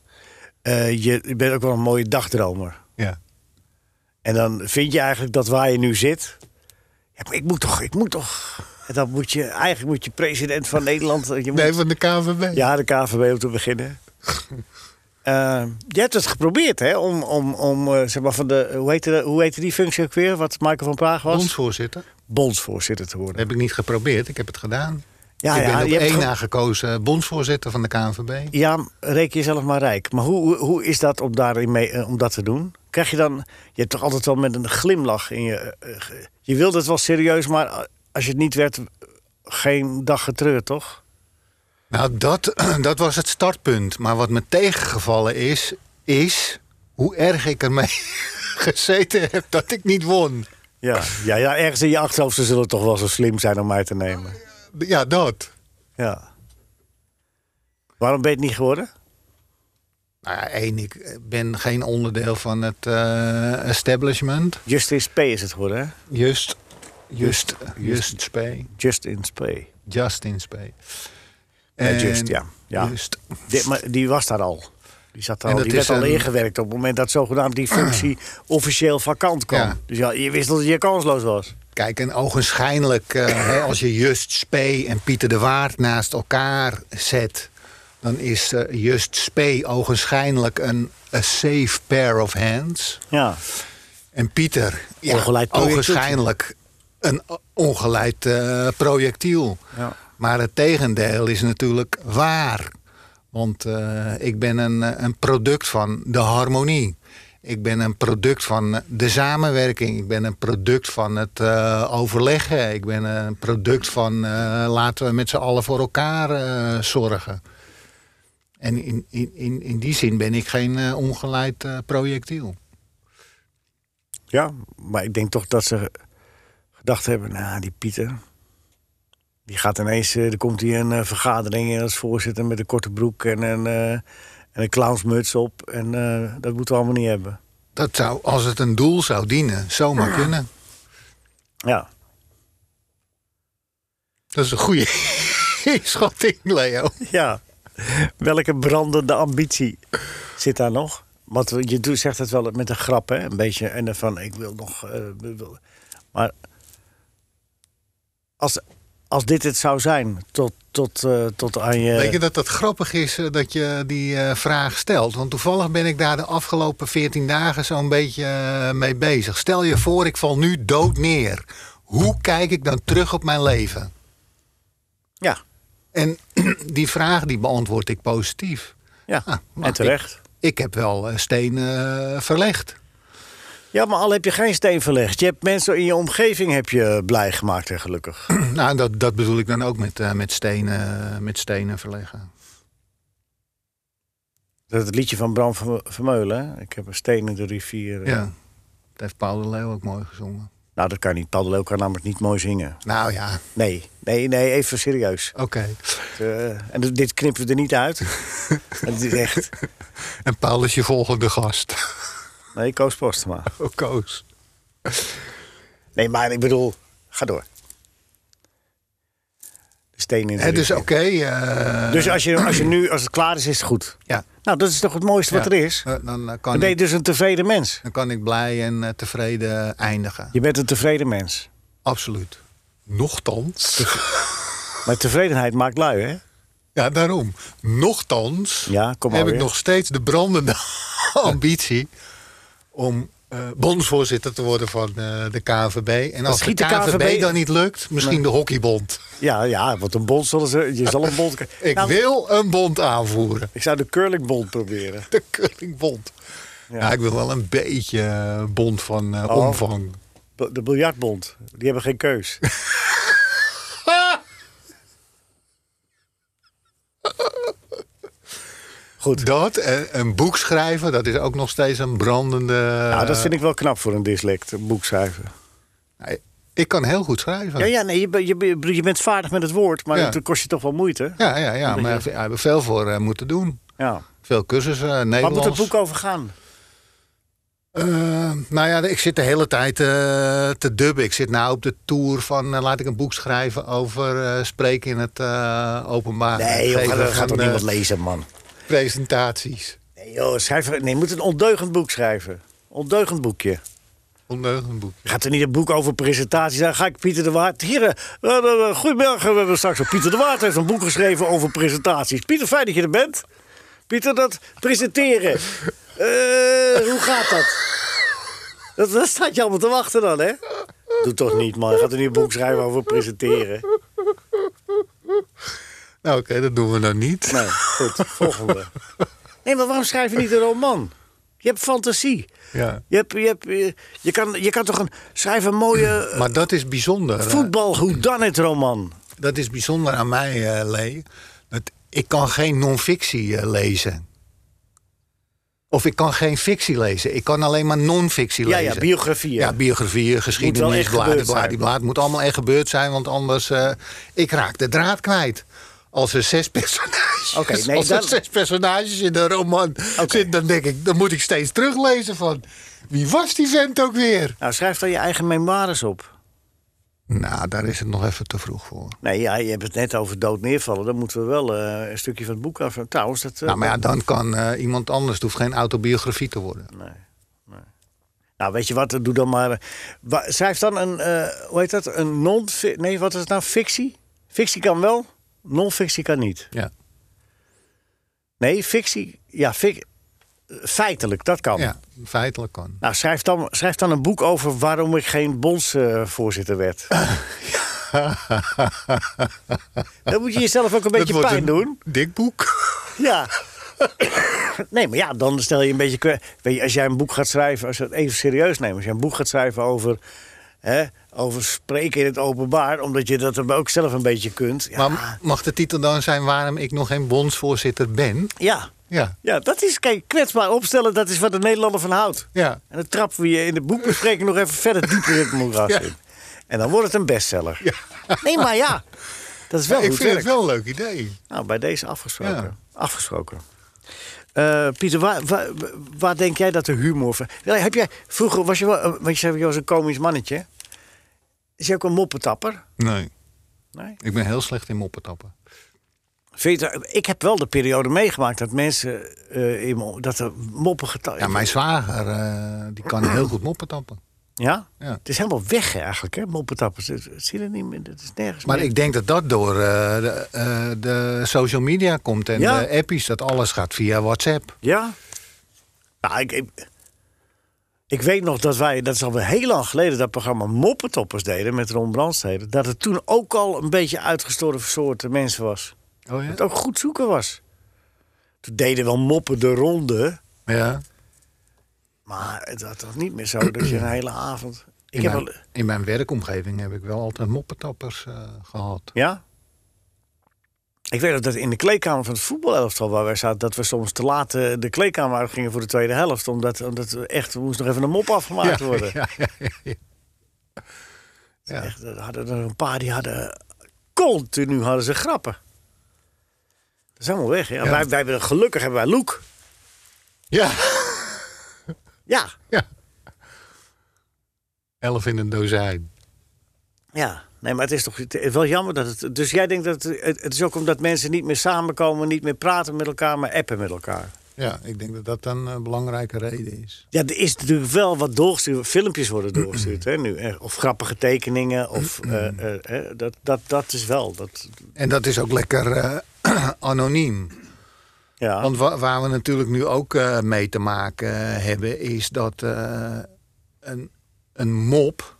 Speaker 2: Eh, je, je bent ook wel een mooie dagdromer.
Speaker 3: Ja.
Speaker 2: En dan vind je eigenlijk dat waar je nu zit... Ja, maar ik moet toch, ik moet toch... En dan moet je, eigenlijk moet je president van Nederland... Je moet,
Speaker 3: Nee, van de KVB.
Speaker 2: Ja, de KVB om te
Speaker 3: *laughs*
Speaker 2: beginnen. Eh, je hebt het geprobeerd, hè? Om, om, om eh, zeg maar van de. Hoe heette, de- hoe heette die functie ook weer? Wat Michael van Praag was?
Speaker 3: Ons voorzitter.
Speaker 2: Bondsvoorzitter te
Speaker 3: Dat
Speaker 2: worden.
Speaker 3: heb ik niet geprobeerd, ik heb het gedaan.
Speaker 2: Ja,
Speaker 3: ik
Speaker 2: ja,
Speaker 3: ben op
Speaker 2: je hebt
Speaker 3: één
Speaker 2: ge-
Speaker 3: na gekozen bondsvoorzitter van de KNVB.
Speaker 2: Ja, reken jezelf maar rijk. Maar hoe, hoe, hoe is dat om, daarin mee, eh, om dat te doen? Krijg je dan. Je hebt toch altijd wel met een glimlach in je. eh, ge- je wilde het wel serieus, maar eh, als je het niet werd, eh, geen dag getreurd, toch?
Speaker 3: Nou, dat, *clears throat* dat was het startpunt. Maar wat me tegengevallen is, is hoe erg ik ermee *laughs* gezeten heb dat ik niet won.
Speaker 2: Ja, ja, ja ergens in je achterhoofd ze zullen toch wel zo slim zijn om mij te nemen.
Speaker 3: Ja, dat.
Speaker 2: Ja. Waarom ben je het niet geworden?
Speaker 3: Nou ja, één, ik ben geen onderdeel van het eh, establishment.
Speaker 2: Justice P is het geworden, hè?
Speaker 3: Just, just, just spee.
Speaker 2: Justin P.
Speaker 3: Just in spee.
Speaker 2: Nee, just, ja. ja.
Speaker 3: Just.
Speaker 2: Dit, maar die was daar al. Die, zat daar
Speaker 3: En
Speaker 2: al.
Speaker 3: dat
Speaker 2: die werd
Speaker 3: is
Speaker 2: al
Speaker 3: een-
Speaker 2: ingewerkt op het moment dat zogenaamd die
Speaker 3: *clears throat*
Speaker 2: functie officieel vakant kwam.
Speaker 3: Ja.
Speaker 2: Dus ja, je wist dat je kansloos was.
Speaker 3: Kijk, en ogenschijnlijk, eh, hè, als je Just Spee en Pieter de Waard naast elkaar zet... dan is eh, Just Spee ogenschijnlijk een a safe pair of hands.
Speaker 2: Ja.
Speaker 3: En Pieter, ja,
Speaker 2: Ongeleid projectiel.
Speaker 3: ogenschijnlijk een o- ongeleid eh, projectiel.
Speaker 2: Ja.
Speaker 3: Maar het tegendeel is natuurlijk waar. Want eh, ik ben een, eh, een product van de harmonie. Ik ben een product van de samenwerking. Ik ben een product van het eh, overleggen. Ik ben een product van eh, laten we met z'n allen voor elkaar eh, zorgen. En in, in, in, in die zin ben ik geen eh, ongeleid eh, projectiel.
Speaker 2: ja, maar ik denk toch dat ze gedacht hebben, nou, die Pieter... Die gaat ineens, eh, er komt hier een eh, vergadering in als voorzitter met een korte broek en een, eh, en een clownsmuts op. En eh, dat moeten we allemaal niet hebben.
Speaker 3: Dat zou, als het een doel zou dienen, zomaar kunnen.
Speaker 2: Ja.
Speaker 3: Dat is een goede *laughs* schatting, Leo.
Speaker 2: Ja, welke brandende ambitie zit daar nog? Want je doet- zegt het wel met een grap, hè? Een beetje. En dan van, ik wil nog... eh, we- wil- maar als, als dit het zou zijn, tot, tot, eh, tot aan je...
Speaker 3: Weet je dat dat grappig is eh, dat je die eh, vraag stelt? Want toevallig ben ik daar de afgelopen 14 dagen zo'n beetje eh, mee bezig. Stel je voor, ik val nu dood neer. Hoe kijk ik dan terug op mijn leven?
Speaker 2: Ja,
Speaker 3: En *clears throat* die vraag die beantwoord ik positief.
Speaker 2: ja.
Speaker 3: Ah, maar
Speaker 2: en terecht.
Speaker 3: Ik heb wel eh, stenen eh, verlegd. *clears throat*
Speaker 2: Ja, maar al heb je geen steen verlegd. Je hebt mensen in je omgeving heb je blij gemaakt en gelukkig.
Speaker 3: Nou, dat, dat bedoel ik dan ook met, eh, met, stenen, met stenen verleggen.
Speaker 2: Dat is het liedje van Bram van Vermeulen. hè? Ik heb een steen in de rivier. eh.
Speaker 3: Ja. Dat heeft Paul de Leeuw ook mooi gezongen.
Speaker 2: Nou, dat kan niet. Paul de Leeuw kan namelijk niet mooi zingen.
Speaker 3: Nou ja,
Speaker 2: Nee, nee, nee, even serieus.
Speaker 3: oké.
Speaker 2: Eh, en dit knippen we er niet
Speaker 3: *laughs*
Speaker 2: uit. het is echt.
Speaker 3: En Paul is je volgende gast.
Speaker 2: Nee, Koos Postema.
Speaker 3: *laughs* Oh, Koos.
Speaker 2: Nee, maar ik bedoel, ga door. De steen in de
Speaker 3: Het is
Speaker 2: rivier.
Speaker 3: oké. dus eh,
Speaker 2: Dus als je, als je nu, als het klaar is, is het goed.
Speaker 3: ja.
Speaker 2: Nou, dat is toch het mooiste wat
Speaker 3: Ja.
Speaker 2: er is?
Speaker 3: Eh, Dan, eh,
Speaker 2: Dan
Speaker 3: kan
Speaker 2: ben je
Speaker 3: ik,
Speaker 2: dus een tevreden mens.
Speaker 3: dan kan ik blij en eh, tevreden eindigen.
Speaker 2: Je bent een tevreden mens.
Speaker 3: Absoluut. Nochtans.
Speaker 2: Maar tevredenheid maakt lui, hè?
Speaker 3: Ja, daarom. Nochtans
Speaker 2: Ja, kom maar
Speaker 3: heb ik
Speaker 2: weer.
Speaker 3: nog steeds de brandende *laughs* ambitie om eh bondsvoorzitter te worden van eh, de KNVB. En als de
Speaker 2: schiet de
Speaker 3: KNVB,
Speaker 2: KNVB
Speaker 3: dan niet lukt, misschien de hockeybond.
Speaker 2: Ja, ja, want een bond zullen ze... Je zal een bond...
Speaker 3: *laughs* Ik
Speaker 2: Nou,
Speaker 3: wil een bond aanvoeren.
Speaker 2: Ik zou de curlingbond proberen.
Speaker 3: De curlingbond. Ja. ik wil wel een beetje eh, bond van eh,
Speaker 2: Oh.
Speaker 3: omvang. *laughs*
Speaker 2: B- De biljartbond. Die hebben geen keus. Goed.
Speaker 3: Dat en een boek schrijven, dat is ook nog steeds een brandende...
Speaker 2: Nou, dat vind ik wel knap voor een dyslect, een boek schrijven.
Speaker 3: ik... eh, Ik kan heel goed schrijven.
Speaker 2: Ja, ja, nee, je, ben- je, ben- je bent vaardig met het woord, maar
Speaker 3: Ja.
Speaker 2: het kost je toch wel moeite.
Speaker 3: Ja, ja, ja, maar daar hebben we veel voor eh, moeten doen.
Speaker 2: Ja.
Speaker 3: Veel cursussen, eh,
Speaker 2: Waar
Speaker 3: Nederlands.
Speaker 2: moet het boek over gaan?
Speaker 3: Eh, nou ja, ik zit de hele tijd eh, te dubben. Ik zit nou op de tour van eh, laat ik een boek schrijven over eh, spreken in het eh, openbaar.
Speaker 2: Nee, joh,
Speaker 3: Geven
Speaker 2: dat
Speaker 3: van,
Speaker 2: gaat toch
Speaker 3: eh,
Speaker 2: niemand lezen, man.
Speaker 3: Presentaties.
Speaker 2: Nee, joh, schrijf, nee, je moet een ondeugend boek schrijven. Ondeugend boekje.
Speaker 3: Ondeugend boek.
Speaker 2: Gaat er niet een boek over presentaties? Dan ga ik Pieter de Waard. Heren, eh, eh, eh, goedemiddag. We hebben straks op Pieter de Waard heeft een boek geschreven over presentaties. Pieter, fijn dat je er bent. Pieter, dat presenteren. Eh, hoe gaat dat? dat? Dat staat je allemaal te wachten dan, hè? Doe toch niet, man. Je gaat er niet een boek schrijven over presenteren.
Speaker 3: Nou oké, dat doen we dan niet.
Speaker 2: Nee, goed. Volgende. Nee, maar waarom schrijf je niet een roman? Je hebt fantasie.
Speaker 3: Ja.
Speaker 2: Je, hebt, je, hebt, je, je kan, je kan toch een... Schrijf een mooie eh,
Speaker 3: Maar dat is bijzonder. eh,
Speaker 2: voetbal het roman.
Speaker 3: dat is bijzonder aan mij, eh, Lee. Dat ik kan geen non-fictie eh, lezen. Of ik kan geen fictie lezen. Ik kan alleen maar non-fictie
Speaker 2: Ja,
Speaker 3: lezen.
Speaker 2: ja, biografieën.
Speaker 3: Ja, biografieën,
Speaker 2: Moet wel
Speaker 3: geschiedenis,
Speaker 2: echt gebeurd
Speaker 3: bladibladibla.
Speaker 2: zijn.
Speaker 3: Het moet allemaal echt gebeurd zijn, want anders... eh, ik raak de draad kwijt. Als er zes personages,
Speaker 2: Oké, nee,
Speaker 3: als er
Speaker 2: dan-
Speaker 3: zes personages in een roman zitten, dan denk ik... dan moet ik steeds teruglezen van... wie was die vent ook weer?
Speaker 2: Nou, schrijf dan je eigen memoires op.
Speaker 3: Nou, daar is het nog even te vroeg voor.
Speaker 2: Nee, ja, je hebt het net over dood neervallen. Dan moeten we wel eh, een stukje van het boek af. Trouwens, dat... eh,
Speaker 3: nou, maar ja, dan kan eh, iemand anders... het hoeft geen autobiografie te worden.
Speaker 2: nou, weet je wat? Doe dan maar... eh, wa- schrijf dan een... eh, hoe heet dat? Een non... Nee, wat is het nou? Fictie? Fictie kan wel, non-fictie kan niet.
Speaker 3: Ja.
Speaker 2: Nee, fictie... Ja, fic- feitelijk, dat kan.
Speaker 3: ja, feitelijk kan.
Speaker 2: Nou, schrijf dan, schrijf dan een boek over waarom ik geen bondsvoorzitter
Speaker 3: *laughs*
Speaker 2: werd. dan moet je jezelf ook een beetje
Speaker 3: Dat wordt
Speaker 2: pijn
Speaker 3: een
Speaker 2: doen.
Speaker 3: Dik boek.
Speaker 2: Ja. *coughs* nee, maar ja, dan stel je een beetje... kwe- Weet je, als jij een boek gaat schrijven... Als we het even serieus nemen. Als jij een boek gaat schrijven over... Hè, over spreken in het openbaar... omdat je dat ook zelf een beetje kunt. Ja,
Speaker 3: *laughs* Maar mag de titel dan zijn waarom ik nog geen bondsvoorzitter ben?
Speaker 2: ja.
Speaker 3: Ja,
Speaker 2: ja dat is... Kijk, kwetsbaar opstellen... dat is wat de Nederlander van houdt.
Speaker 3: ja.
Speaker 2: En dan trappen we je in de boekbespreking nog even verder dieper in het moeras
Speaker 3: Ja.
Speaker 2: in. En dan wordt het een bestseller. Nee, maar ja. Dat is wel
Speaker 3: ik
Speaker 2: goed
Speaker 3: vind
Speaker 2: werk.
Speaker 3: het wel een leuk idee.
Speaker 2: Nou, bij deze afgesproken.
Speaker 3: Ja.
Speaker 2: Afgesproken. Eh, Pieter, waar, waar, waar denk jij dat de humor van... Ja, Heb jij, vroeger was je wel... eh, Want je zei, je was een komisch mannetje. Is je ook een moppetapper?
Speaker 3: Nee,
Speaker 2: Nee.
Speaker 3: ik ben heel slecht in moppetappen.
Speaker 2: Vind je dat- ik heb wel de periode meegemaakt dat mensen... eh, in mo- dat er moppen getallen...
Speaker 3: Ja, mijn zwager, eh, die kan heel goed moppetappen.
Speaker 2: ja?
Speaker 3: Ja.
Speaker 2: Het is helemaal weg hè, eigenlijk, hè? Moppetappers. Het het zie je niet meer. Het is nergens
Speaker 3: Maar
Speaker 2: meer.
Speaker 3: ik denk dat dat door eh, de, eh, de social media komt en
Speaker 2: Ja.
Speaker 3: de appies. Dat alles gaat via WhatsApp.
Speaker 2: Ja? Nou, ik, ik, ik weet nog dat wij, dat is alweer heel lang geleden, dat programma Moppetoppers deden met Ron Brandstede. Dat het toen ook al een beetje uitgestorven soorten mensen was.
Speaker 3: Oh
Speaker 2: Dat het ook goed zoeken was. Toen deden wel moppen de ronde.
Speaker 3: Ja.
Speaker 2: Maar dat was niet meer zo dat je
Speaker 3: *clears throat*
Speaker 2: een hele avond... Ik
Speaker 3: In,
Speaker 2: heb
Speaker 3: mijn,
Speaker 2: wel...
Speaker 3: in mijn werkomgeving heb ik wel altijd moppetappers eh, gehad.
Speaker 2: Ja? Ik weet ook dat in de kleedkamer van het voetbalelftal waar wij zaten... dat we soms te laat eh, de kleedkamer uit gingen voor de tweede helft. Omdat, omdat we echt, er moest nog even een mop afgemaakt worden.
Speaker 3: *laughs* Ja, ja, ja, ja. ja.
Speaker 2: Echt, er hadden er een paar die hadden continu hadden ze grappen. Dat is helemaal weg. Ja.
Speaker 3: Ja.
Speaker 2: Wij, wij hebben, gelukkig hebben wij Loek.
Speaker 3: Ja, *laughs*
Speaker 2: Ja,
Speaker 3: ja. Elf in een dozijn.
Speaker 2: ja. Nee, maar het is toch het is wel jammer dat het... Dus jij denkt dat het, het- het is ook omdat mensen niet meer samenkomen... niet meer praten met elkaar, maar appen met elkaar.
Speaker 3: Ja, ik denk dat dat een eh, belangrijke reden is.
Speaker 2: Ja, er is natuurlijk wel wat doorgestuurd. Filmpjes worden doorgestuurd hè, nu. eh, Of grappige tekeningen.
Speaker 3: *clears throat*
Speaker 2: Of, eh, eh, eh, dat, dat, dat is wel. Dat,
Speaker 3: En dat is ook lekker eh, *clears throat* anoniem.
Speaker 2: ja.
Speaker 3: Want wa- waar we natuurlijk nu ook eh, mee te maken eh, hebben, is dat eh, een, een mop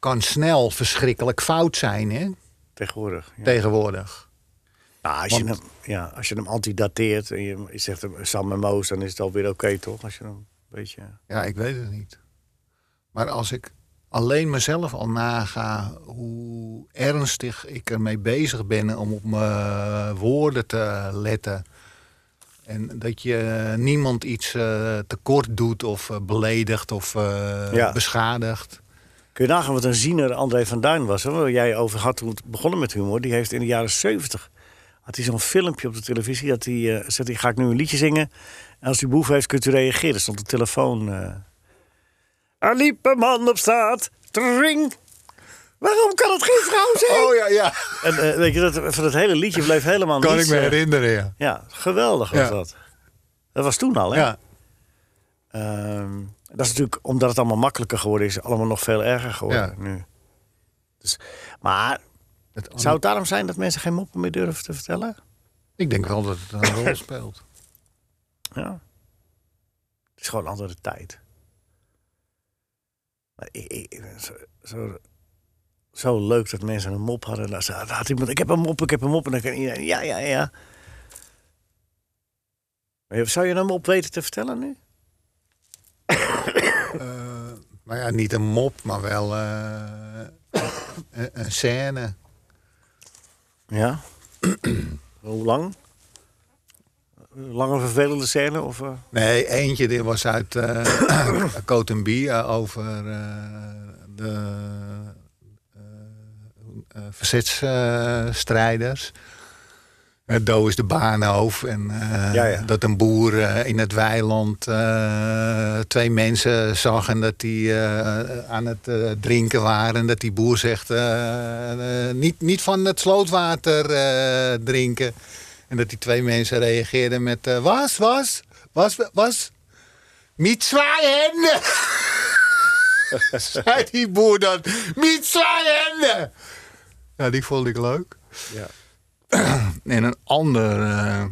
Speaker 3: kan snel verschrikkelijk fout zijn hè,
Speaker 2: tegenwoordig. Ja.
Speaker 3: tegenwoordig.
Speaker 2: Nou, als, je
Speaker 3: Want-
Speaker 2: hem, ja, als je hem antidateert en je, je zegt hem Sam en Moos, dan is het alweer oké, toch? Als je hem een beetje...
Speaker 3: Ja, ik weet het niet. Maar als ik alleen mezelf al naga hoe ernstig ik ermee bezig ben om op mijn woorden te letten. En dat je niemand iets eh, tekort doet of eh, beledigt of eh,
Speaker 2: Ja.
Speaker 3: beschadigt.
Speaker 2: Kun je nagaan wat een ziener André van Duin was, hè? waar jij over had toen het begonnen met humor. Die heeft in de jaren 70 had hij zo'n filmpje op de televisie, dat hij eh, zegt, hij, ga ik nu een liedje zingen? En als u behoefte heeft, kunt u reageren. Stond de telefoon... eh, Er liep een man op straat, tring. Waarom kan het geen vrouw zijn?
Speaker 3: Oh, ja, ja.
Speaker 2: En eh, weet je, dat, van het hele liedje bleef helemaal
Speaker 3: Kan
Speaker 2: niets,
Speaker 3: ik me
Speaker 2: eh,
Speaker 3: herinneren, ja.
Speaker 2: Ja, geweldig was
Speaker 3: Ja.
Speaker 2: dat. Dat was toen al, hè?
Speaker 3: ja.
Speaker 2: Ehm, dat is natuurlijk omdat het allemaal makkelijker geworden is, allemaal nog veel erger geworden
Speaker 3: Ja. Oh,
Speaker 2: nu. Dus, maar
Speaker 3: Het
Speaker 2: zou het daarom zijn dat mensen geen moppen meer durven te vertellen?
Speaker 3: Ik denk wel dat het een *laughs* rol speelt.
Speaker 2: Ja. Het is gewoon een andere tijd. Maar ik, ik- zo, zo, zo leuk dat mensen een mop hadden. Dan zei- had iemand, ik heb een mop, ik heb een mop. En dan kan iedereen, ja, ja, ja. Maar Zou je een mop weten te vertellen nu?
Speaker 3: Eh, maar ja, niet een mop, maar wel eh, een, een scène.
Speaker 2: Ja. *clears throat* Hoe lang? Lange vervelende scène? Of, eh?
Speaker 3: Nee, eentje die was uit eh *clears throat* Cotonbie eh, over eh, de eh, eh, verzetsstrijders. Eh, Do is de baanhoofd. En eh,
Speaker 2: Ja, ja.
Speaker 3: dat een boer eh, in het weiland eh, twee mensen zag en dat die eh, aan het eh, drinken waren. En dat die boer zegt, eh, eh, niet, niet van het slootwater eh, drinken. En dat die twee mensen reageerden met, eh, was, was, was, was, niet zwaaien. *laughs* Zei die boer dan, niet zwaaien. Ja, die vond ik leuk.
Speaker 2: Ja.
Speaker 3: En een ander eh,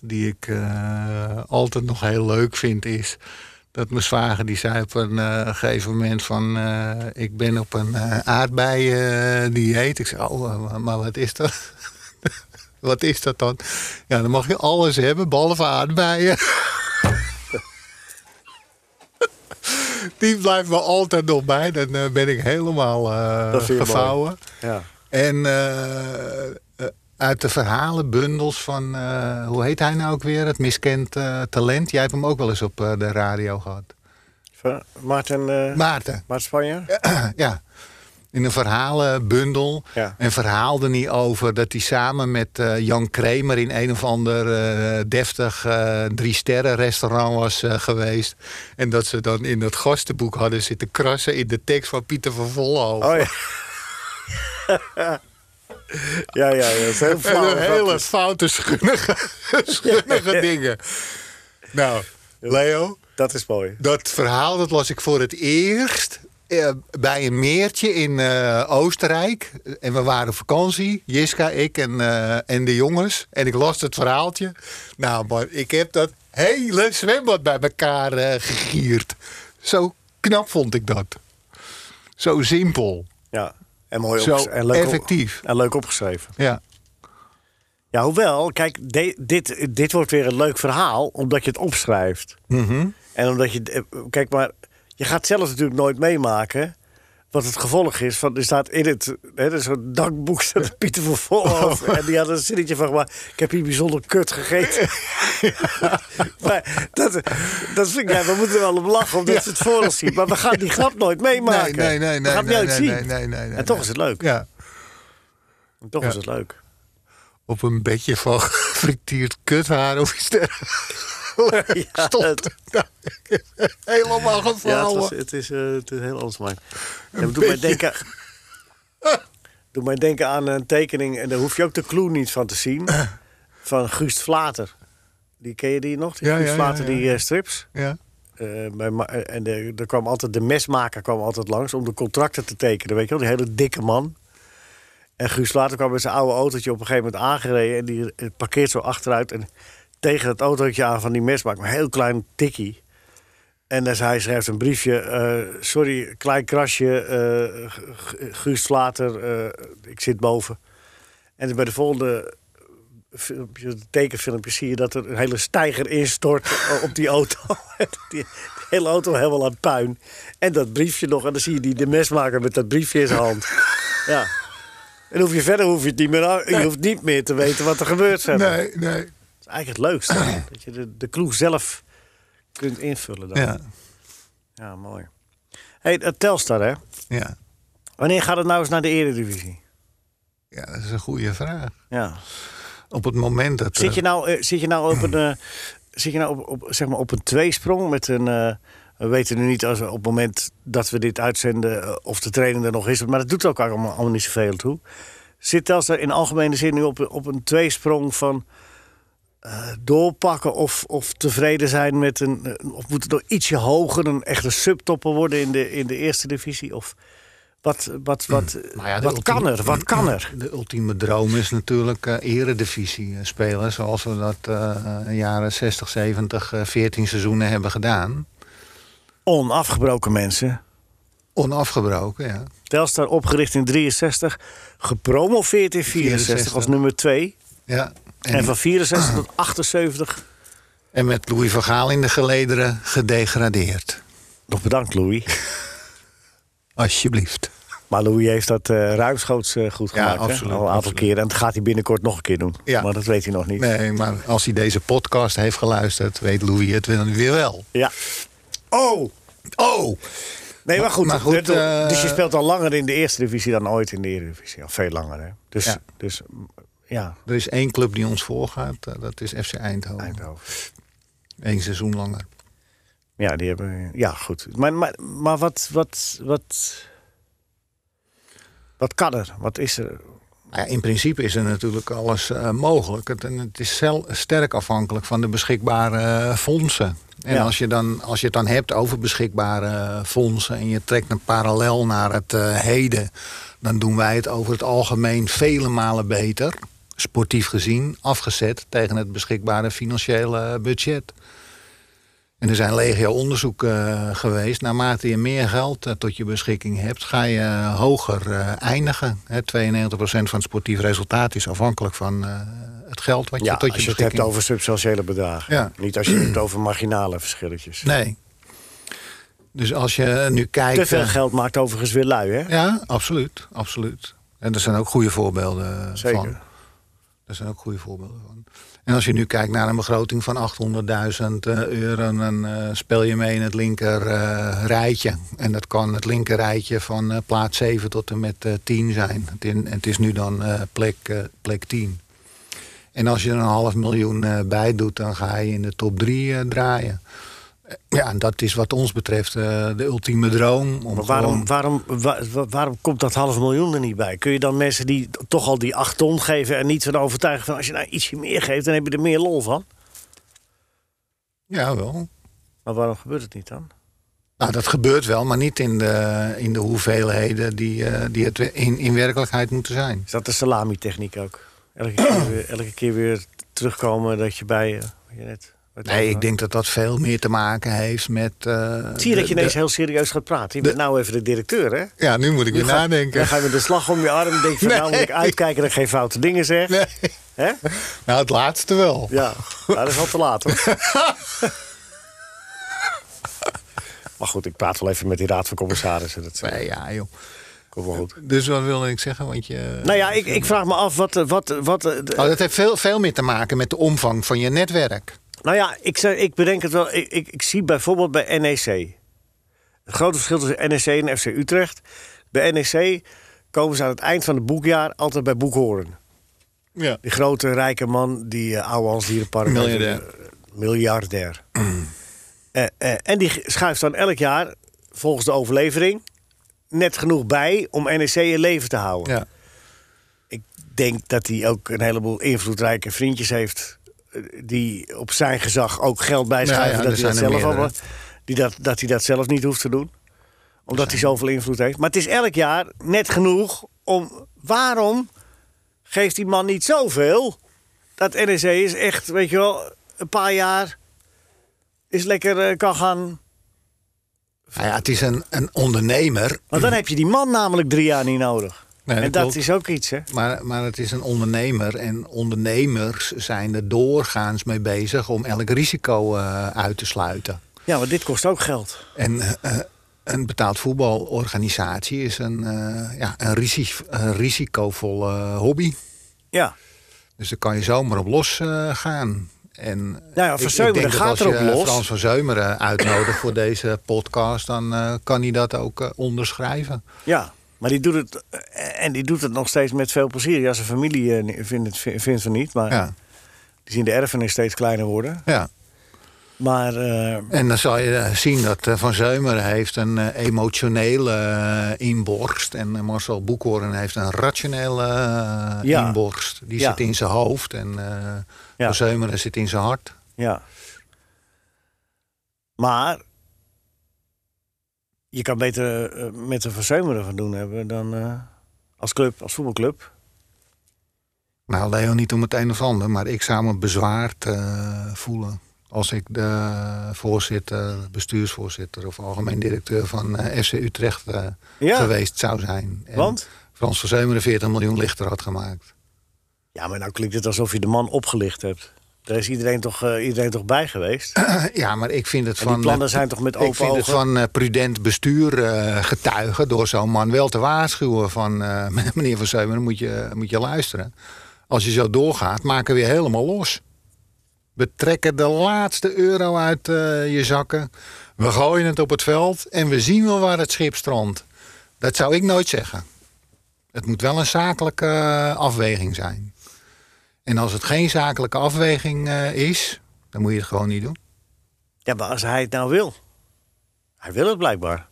Speaker 3: die ik eh, altijd nog heel leuk vind is dat mijn zwager die zei op een eh, gegeven moment van eh, ik ben op een eh aardbei-dieet. ik zei, oh, eh, maar wat is dat? *laughs* wat is dat dan? Ja, dan mag je alles hebben, behalve aardbeien. *laughs* die blijft me altijd nog bij. Dan eh, ben ik helemaal eh,
Speaker 2: Dat vind je mooi.
Speaker 3: gevouwen.
Speaker 2: Ja.
Speaker 3: En eh, eh, uit de verhalenbundels van, eh, hoe heet hij nou ook weer? Het miskend eh, talent. Jij hebt hem ook wel eens op eh, de radio gehad.
Speaker 2: Van Maarten, eh
Speaker 3: Maarten, eh,
Speaker 2: Maarten Spanjer?
Speaker 3: ja. In een verhalenbundel.
Speaker 2: Ja.
Speaker 3: En verhaalde hij over dat hij samen met eh, Jan Kramer in een of ander eh, deftig eh, drie sterren restaurant was eh, geweest. En dat ze dan in dat gastenboek hadden zitten krassen in de tekst van Pieter van Vollenhoven.
Speaker 2: Oh ja. *laughs* ja, ja, ja. Dat is heel
Speaker 3: En
Speaker 2: flauw.
Speaker 3: een hele foute, schunnige, schunnige dingen. Nou, Leo,
Speaker 2: Dat is mooi.
Speaker 3: dat verhaal dat las ik voor het eerst eh, bij een meertje in eh, Oostenrijk. En we waren op vakantie, Jiska, ik en, eh, en de jongens. En ik las het verhaaltje. Nou, maar ik heb dat hele zwembad bij elkaar eh, gegierd. Zo knap vond ik dat. Zo simpel.
Speaker 2: Ja. En mooi
Speaker 3: Zo
Speaker 2: opges- en leuk op-
Speaker 3: effectief.
Speaker 2: en leuk opgeschreven.
Speaker 3: Ja.
Speaker 2: Ja, hoewel, kijk, de- dit, dit wordt weer een leuk verhaal omdat je het opschrijft.
Speaker 3: Mhm.
Speaker 2: En omdat je. eh, Kijk, maar je gaat zelf natuurlijk nooit meemaken. Wat het gevolg is, van, er staat in het, hè, er is zo'n dankboek, staat Pieter van Volhoff.
Speaker 3: Oh.
Speaker 2: En die had een zinnetje van, maar ik heb hier bijzonder kut gegeten. *laughs* maar dat, dat vind ik, ja, we moeten er wel om lachen, omdat ze het voor ons zien. Maar we gaan die grap nooit meemaken.
Speaker 3: Nee, nee, nee,
Speaker 2: we
Speaker 3: nee,
Speaker 2: gaan het
Speaker 3: nee,
Speaker 2: nooit
Speaker 3: nee,
Speaker 2: zien.
Speaker 3: nee, nee, nee, nee,
Speaker 2: en toch
Speaker 3: nee.
Speaker 2: is het leuk.
Speaker 3: Ja,
Speaker 2: En toch is het leuk.
Speaker 3: op een bedje van gefrituurd kuthaar of iets dergelijks.
Speaker 2: *laughs* Ja,
Speaker 3: Stond.
Speaker 2: het-
Speaker 3: *laughs* Helemaal
Speaker 2: Ja, het, was-
Speaker 3: gevouwen.
Speaker 2: het is, eh, het is heel anders, maar. Ja, maar doe mij
Speaker 3: beetje.
Speaker 2: denken.
Speaker 3: *laughs*
Speaker 2: doe mij denken aan een tekening, en daar hoef je ook de clue niet van te
Speaker 3: *laughs*
Speaker 2: zien. van Guust Vlater. Die ken je die nog? Die
Speaker 3: Ja,
Speaker 2: Guust
Speaker 3: ja, ja,
Speaker 2: Vlater,
Speaker 3: ja.
Speaker 2: die eh, strips.
Speaker 3: Ja.
Speaker 2: Eh, bij ma- eh, en de, er kwam altijd, de mesmaker kwam altijd langs om de contracten te tekenen. Weet je wel, die hele dikke man. En Guus later kwam met zijn oude autootje op een gegeven moment aangereden. En die eh, parkeert zo achteruit en tegen het autootje aan van die mesmaker. Een heel klein tikkie. En dus hij schrijft een briefje. eh, sorry, klein krasje. eh, Gu- Gu- Guus later, ik zit boven. En dus bij de volgende filmpje, het tekenfilmpje zie je dat er een hele stijger instort eh, op die auto. *laughs* die, die hele auto helemaal aan puin. En dat briefje nog. En dan zie je die de mesmaker met dat briefje in zijn hand. Ja. En hoef je verder hoef je het niet meer, aan- je hoeft niet meer te weten wat er gebeurt verder.
Speaker 3: Nee, nee.
Speaker 2: Dat is eigenlijk het leukste. dat je de, de clue zelf kunt invullen dan.
Speaker 3: Ja,
Speaker 2: Ja, mooi. hey, dat Telstar hè.
Speaker 3: ja.
Speaker 2: Wanneer gaat het nou eens naar de eredivisie?
Speaker 3: ja, dat is een goede vraag.
Speaker 2: Ja.
Speaker 3: Op het moment dat...
Speaker 2: Zit
Speaker 3: er-
Speaker 2: je nou, eh, zit je nou op een, eh, zit je nou op, op, zeg maar op een tweesprong met een. eh, we weten nu niet als we op het moment dat we dit uitzenden eh, of de training er nog is, maar dat doet ook allemaal, allemaal niet zoveel toe. Zit Telstar in algemene zin nu op, op een tweesprong van eh, doorpakken of, of tevreden zijn met een. eh, of moet het nog ietsje hoger, een echte subtopper worden in de, in de eerste divisie? Of wat, wat, wat,
Speaker 3: Maar Nou ja, de
Speaker 2: wat
Speaker 3: ultieme-
Speaker 2: kan er? Wat kan
Speaker 3: *clears throat*
Speaker 2: er?
Speaker 3: De ultieme droom is natuurlijk eh, eredivisie eh, spelen. Zoals we dat eh, in de jaren 60, 70, eh, 14 seizoenen hebben gedaan.
Speaker 2: Onafgebroken mensen.
Speaker 3: Onafgebroken, ja.
Speaker 2: Telstar opgericht in 63, gepromoveerd in 64,
Speaker 3: 64.
Speaker 2: als nummer 2.
Speaker 3: ja.
Speaker 2: En, van 64 tot 78.
Speaker 3: en met Louis van Gaal in de gelederen gedegradeerd.
Speaker 2: Nog bedankt,
Speaker 3: *laughs*
Speaker 2: Louis.
Speaker 3: Alsjeblieft.
Speaker 2: Maar Louis heeft dat eh ruimschoots eh, goed
Speaker 3: Ja,
Speaker 2: gemaakt. hè?
Speaker 3: absoluut,
Speaker 2: Al een aantal
Speaker 3: absoluut.
Speaker 2: keren. En dat gaat hij binnenkort nog een keer doen.
Speaker 3: Ja.
Speaker 2: Maar dat weet hij nog niet.
Speaker 3: Nee, maar als hij deze podcast heeft geluisterd, weet Louis het dan weer wel.
Speaker 2: Ja. Oh!
Speaker 3: Oh!
Speaker 2: Nee, maar goed.
Speaker 3: Maar goed,
Speaker 2: dit-
Speaker 3: eh,
Speaker 2: dus je speelt al langer in de eerste divisie dan ooit in de Eredivisie. Al veel langer, hè? Dus
Speaker 3: Ja.
Speaker 2: ja, dus, mm, ja
Speaker 3: Er is één club die ons voorgaat, eh, dat is FC Eindhoven.
Speaker 2: Eindhoven.
Speaker 3: Eén seizoen langer.
Speaker 2: Ja, die hebben. Ja, goed. Maar, maar, maar wat, wat, wat. Wat kan er? Wat is er?
Speaker 3: Nou Ja, in principe is er natuurlijk alles eh, mogelijk. Het, en het is zel- sterk afhankelijk van de beschikbare eh, fondsen. En
Speaker 2: Ja.
Speaker 3: als, je dan, als je het dan hebt over beschikbare eh, fondsen en je trekt een parallel naar het eh, heden, dan doen wij het over het algemeen vele malen beter, sportief gezien, afgezet tegen het beschikbare financiële budget. En er zijn legio onderzoeken eh, geweest. Naarmate je meer geld eh, tot je beschikking hebt, ga je eh, hoger eh, eindigen. Hè, 92% van het sportief resultaat is afhankelijk van eh, het geld wat je
Speaker 2: Ja,
Speaker 3: tot je
Speaker 2: als je het
Speaker 3: beschikking
Speaker 2: hebt over substantiële bedragen.
Speaker 3: Ja.
Speaker 2: Niet als je het hebt over marginale verschilletjes.
Speaker 3: Nee. Dus als je nu kijkt.
Speaker 2: Te veel
Speaker 3: eh,
Speaker 2: geld maakt overigens weer lui, hè?
Speaker 3: Ja, absoluut, absoluut. En er zijn ook goede voorbeelden eh,
Speaker 2: Zeker.
Speaker 3: van. Er zijn ook goede voorbeelden van. En als je nu kijkt naar een begroting van 800.000 eh, euro, dan eh, speel je mee in het linker eh, rijtje. En dat kan het linker rijtje van eh, plaats 7 tot en met eh, 10 zijn. Het, in- het is nu dan eh, plek, eh, plek 10. En als je er een half miljoen eh, bij doet, dan ga je in de top 3 draaien. Eh, Ja, en dat is wat ons betreft eh, de ultieme droom. Om
Speaker 2: Maar waarom,
Speaker 3: gewoon-
Speaker 2: waarom, wa- wa- waarom komt dat half miljoen er niet bij? Kun je dan mensen die t- toch al die acht ton geven en niet van overtuigen van als je nou ietsje meer geeft, dan heb je er meer lol van?
Speaker 3: Ja, wel.
Speaker 2: Maar waarom gebeurt het niet dan?
Speaker 3: Nou, dat gebeurt wel, maar niet in de, in de hoeveelheden die, eh, die het we- in, in werkelijkheid moeten zijn.
Speaker 2: Is dat de
Speaker 3: *clears throat*
Speaker 2: salami-techniek ook? Elke keer, weer, elke keer weer terugkomen dat je bij eh, wat je net Het
Speaker 3: Nee,
Speaker 2: over-
Speaker 3: ik denk dat dat veel meer te maken heeft met... eh,
Speaker 2: Zie je dat
Speaker 3: de-
Speaker 2: je ineens
Speaker 3: de-
Speaker 2: heel serieus gaat praten? Je bent nou even de directeur, hè?
Speaker 3: Ja, nu moet ik weer
Speaker 2: Nu ga- Dan
Speaker 3: nadenken.
Speaker 2: ga je met de slag om je arm. Denk je van, nou moet ik
Speaker 3: Nee.
Speaker 2: uitkijken dat ik geen foute dingen zeg.
Speaker 3: *laughs* Nee.
Speaker 2: Hè?
Speaker 3: Nou, het laatste wel.
Speaker 2: Ja, nou, dat is al te laat
Speaker 3: *laughs*
Speaker 2: hoor. maar goed, ik praat wel even met die raad van commissarissen. Dat eh,
Speaker 3: Nee, ja, joh.
Speaker 2: komt wel goed.
Speaker 3: Dus wat wilde ik zeggen? Want je...
Speaker 2: Nou ja, ik, ik vraag me af wat... eh, wat, wat eh, de-
Speaker 3: Oh, dat heeft veel, veel meer te maken met de omvang van je netwerk.
Speaker 2: Nou ja, ik, zeg- ik bedenk het wel. Ik, ik, ik zie bijvoorbeeld bij NEC. Het grote verschil tussen NEC en FC Utrecht. Bij NEC komen ze aan het eind van het boekjaar altijd bij Boekhoorn.
Speaker 3: Ja.
Speaker 2: Die grote rijke man, die eh oude Hans Dierenpark.
Speaker 3: Miljardair.
Speaker 2: Eh, miljardair. *clears throat* Eh, eh, en die schuift dan elk jaar, volgens de overlevering, net genoeg bij om NEC in leven te houden.
Speaker 3: ja.
Speaker 2: Ik denk dat hij ook een heleboel invloedrijke vriendjes heeft. eh, die op zijn gezag ook geld bijschuiven.
Speaker 3: Ja, ja,
Speaker 2: dat, hij
Speaker 3: er
Speaker 2: dat,
Speaker 3: zijn er
Speaker 2: zelf allemaal,
Speaker 3: meerdere.
Speaker 2: die dat, dat hij dat zelf niet hoeft te doen. Omdat hij zoveel invloed heeft. Maar het is elk jaar net genoeg om. Waarom geeft die man niet zoveel? Dat NEC is echt, weet je wel, een paar jaar. is lekker eh, kan gaan.
Speaker 3: Nou ja, het is een, een ondernemer.
Speaker 2: Want dan heb je die man namelijk drie jaar niet nodig.
Speaker 3: Nee, dat
Speaker 2: en dat
Speaker 3: klopt.
Speaker 2: is ook iets, hè?
Speaker 3: Maar, maar het is een ondernemer en ondernemers zijn er doorgaans mee bezig om elk risico eh, uit te sluiten.
Speaker 2: Ja, maar dit kost ook geld.
Speaker 3: En eh, een betaald voetbalorganisatie is een, eh, ja, een, risi- een risicovolle hobby.
Speaker 2: Ja.
Speaker 3: Dus daar kan je zomaar op los eh, gaan. En
Speaker 2: Nou ja,
Speaker 3: ik-
Speaker 2: Van
Speaker 3: ik
Speaker 2: Zeumeren
Speaker 3: denk dat
Speaker 2: gaat
Speaker 3: als
Speaker 2: erop
Speaker 3: je eh,
Speaker 2: los.
Speaker 3: Frans van Zeumeren uitnodigt voor deze podcast, dan eh, kan hij dat ook eh, onderschrijven.
Speaker 2: Ja, maar die doet het. eh, En die doet het nog steeds met veel plezier. Ja, zijn familie eh, vindt het, vi- vindt het niet. Maar
Speaker 3: Ja,
Speaker 2: die zien de erfenis steeds kleiner worden.
Speaker 3: ja.
Speaker 2: Maar eh,
Speaker 3: En dan zal je eh, zien dat eh, Van Zeumeren heeft een eh, emotionele eh, inborst. En eh, Marcel Boekhoorn heeft een rationele eh,
Speaker 2: Ja.
Speaker 3: inborst. Die
Speaker 2: Ja.
Speaker 3: zit in zijn hoofd en eh,
Speaker 2: Ja.
Speaker 3: Van Zeumeren zit in zijn hart.
Speaker 2: ja. Maar. Je kan beter eh, met de verzuimeren van doen hebben dan eh, als club, als voetbalclub.
Speaker 3: Nou, Leo, niet om het een of ander, maar ik zou me bezwaard eh, voelen. Als ik de voorzitter, bestuursvoorzitter of algemeen directeur van eh, FC Utrecht eh,
Speaker 2: Ja,
Speaker 3: geweest zou zijn. En
Speaker 2: want?
Speaker 3: Frans van Zeumeren 40 miljoen lichter had gemaakt.
Speaker 2: Ja, maar nou klinkt het alsof je de man opgelicht hebt. Daar is iedereen toch, eh, iedereen toch bij geweest.
Speaker 3: Eh, ja, maar ik vind het
Speaker 2: En
Speaker 3: van...
Speaker 2: die plannen
Speaker 3: eh,
Speaker 2: zijn toch met
Speaker 3: Ik
Speaker 2: open
Speaker 3: vind
Speaker 2: ogen.
Speaker 3: het van eh, prudent bestuur eh, getuigen door zo'n man wel te waarschuwen van eh, *laughs* meneer Van Zeumeren moet je, moet je luisteren. Als je zo doorgaat, maken we je helemaal los. We trekken de laatste euro uit eh, je zakken. We gooien het op het veld en we zien wel waar het schip strandt. Dat zou ik nooit zeggen. Het moet wel een zakelijke eh, afweging zijn. En als het geen zakelijke afweging eh, is, dan moet je het gewoon niet doen.
Speaker 2: Ja, maar als hij het nou wil. Hij wil het blijkbaar.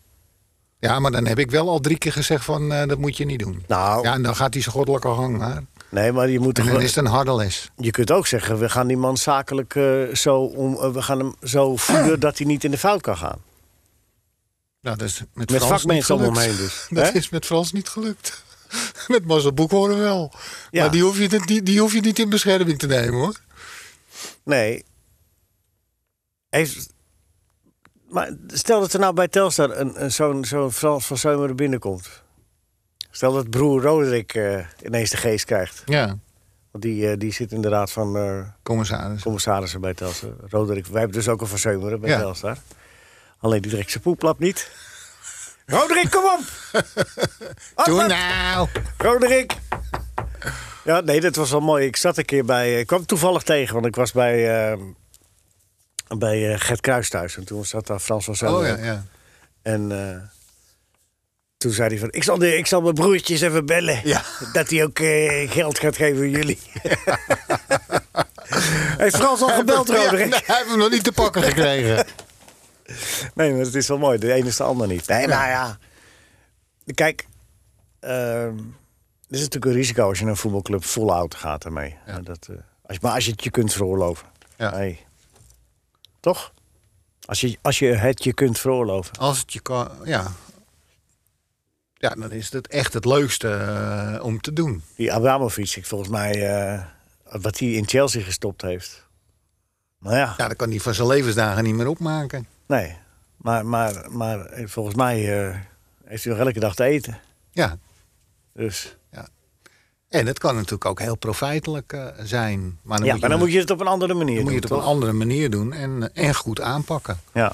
Speaker 3: Ja, maar dan heb ik wel al drie keer gezegd van eh, dat moet je niet doen.
Speaker 2: Nou,
Speaker 3: Ja, en dan gaat hij zijn goddelijke gang maar.
Speaker 2: nee, maar je moet toch
Speaker 3: En dan
Speaker 2: wel-
Speaker 3: is het een harde les.
Speaker 2: Je kunt ook zeggen, we gaan die man zakelijk eh, zo, om, eh, we gaan hem zo voeden dat hij niet in de fout kan gaan.
Speaker 3: Nou, dat is met,
Speaker 2: Met
Speaker 3: Frans
Speaker 2: vakmensen
Speaker 3: niet
Speaker 2: om hem
Speaker 3: gelukt.
Speaker 2: heen dus.
Speaker 3: *laughs* Dat
Speaker 2: Hè?
Speaker 3: is met Frans niet gelukt. *laughs* Met Marcel Boekhoorn wel.
Speaker 2: Ja.
Speaker 3: Maar die hoef, je, niet- die, die hoef je niet in bescherming te nemen hoor.
Speaker 2: Nee. Heeft, maar stel dat er nou bij Telstar een, een, zo'n, zo'n Frans van Zeumeren binnenkomt. Stel dat broer Roderick eh, ineens de geest krijgt.
Speaker 3: Ja,
Speaker 2: Want die, eh, die zit in de raad van eh,
Speaker 3: commissaris.
Speaker 2: commissarissen bij Telstar. Roderick, wij hebben dus ook een van Zeumeren bij
Speaker 3: Ja.
Speaker 2: Telstar. Alleen die trekt zijn poeplap niet. Roderick, kom
Speaker 3: *laughs*
Speaker 2: op! Op,
Speaker 3: Doe
Speaker 2: op!
Speaker 3: nou!
Speaker 2: Roderick. Ja, nee, dat was wel mooi. Ik zat een keer bij... eh, Ik kwam toevallig tegen, want ik was bij, eh, bij eh, Gert Kruis thuis. En toen zat daar Frans van Zellen.
Speaker 3: Oh ja, ja.
Speaker 2: En eh, toen zei hij van... Ik zal, de, ik zal mijn broertjes even bellen.
Speaker 3: Ja.
Speaker 2: Dat hij ook eh, geld gaat geven aan
Speaker 3: *laughs*
Speaker 2: jullie. Heeft Frans al gebeld,
Speaker 3: Ja,
Speaker 2: Roderick?
Speaker 3: nee, hij heeft hem nog niet te pakken gekregen.
Speaker 2: *laughs* Nee, maar het is wel mooi. De ene is de ander niet. Nee, maar ja. Kijk, ehm er is natuurlijk een risico als je naar een voetbalclub vol out gaat ermee. Maar Dat, eh, als, maar als je het je kunt veroorloven.
Speaker 3: Ja.
Speaker 2: Nee. Toch? Als je, als je het je kunt veroorloven.
Speaker 3: Als het je kan, ja. Ja, dan is het echt het leukste eh, om te doen.
Speaker 2: Die Abramovic, ik volgens mij, eh, wat hij in Chelsea gestopt heeft. Maar ja,
Speaker 3: Ja, dat kan hij van zijn levensdagen niet meer opmaken.
Speaker 2: nee. Maar, maar, maar eh, volgens mij eh, heeft hij nog elke dag te eten.
Speaker 3: Ja,
Speaker 2: Dus.
Speaker 3: en het kan natuurlijk ook heel profijtelijk eh, zijn. Maar dan
Speaker 2: ja,
Speaker 3: moet
Speaker 2: maar
Speaker 3: je,
Speaker 2: dan
Speaker 3: het-
Speaker 2: moet je het op een andere manier
Speaker 3: dan moet
Speaker 2: doen.
Speaker 3: je het op
Speaker 2: toch?
Speaker 3: een andere manier doen en, eh, en goed aanpakken.
Speaker 2: Ja.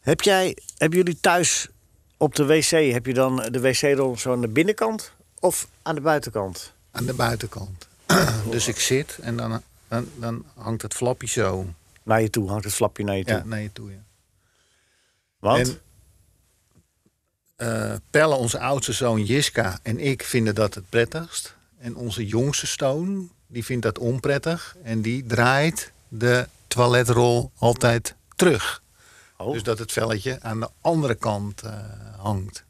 Speaker 2: Heb jij, hebben jullie thuis op de wc, heb je dan de wc-rol zo aan de binnenkant of aan de buitenkant?
Speaker 3: Aan de buitenkant. *clears throat* dus ik zit en dan, dan, dan hangt het flapje zo
Speaker 2: Naar je toe, hangt het flapje naar je toe.
Speaker 3: ja, naar je toe. Ja.
Speaker 2: Want?
Speaker 3: En, eh, Pelle, onze oudste zoon Jiska en ik vinden dat het prettigst. En onze jongste zoon, die vindt dat onprettig. En die draait de toiletrol altijd terug.
Speaker 2: Oh.
Speaker 3: Dus dat het velletje aan de andere kant eh, hangt.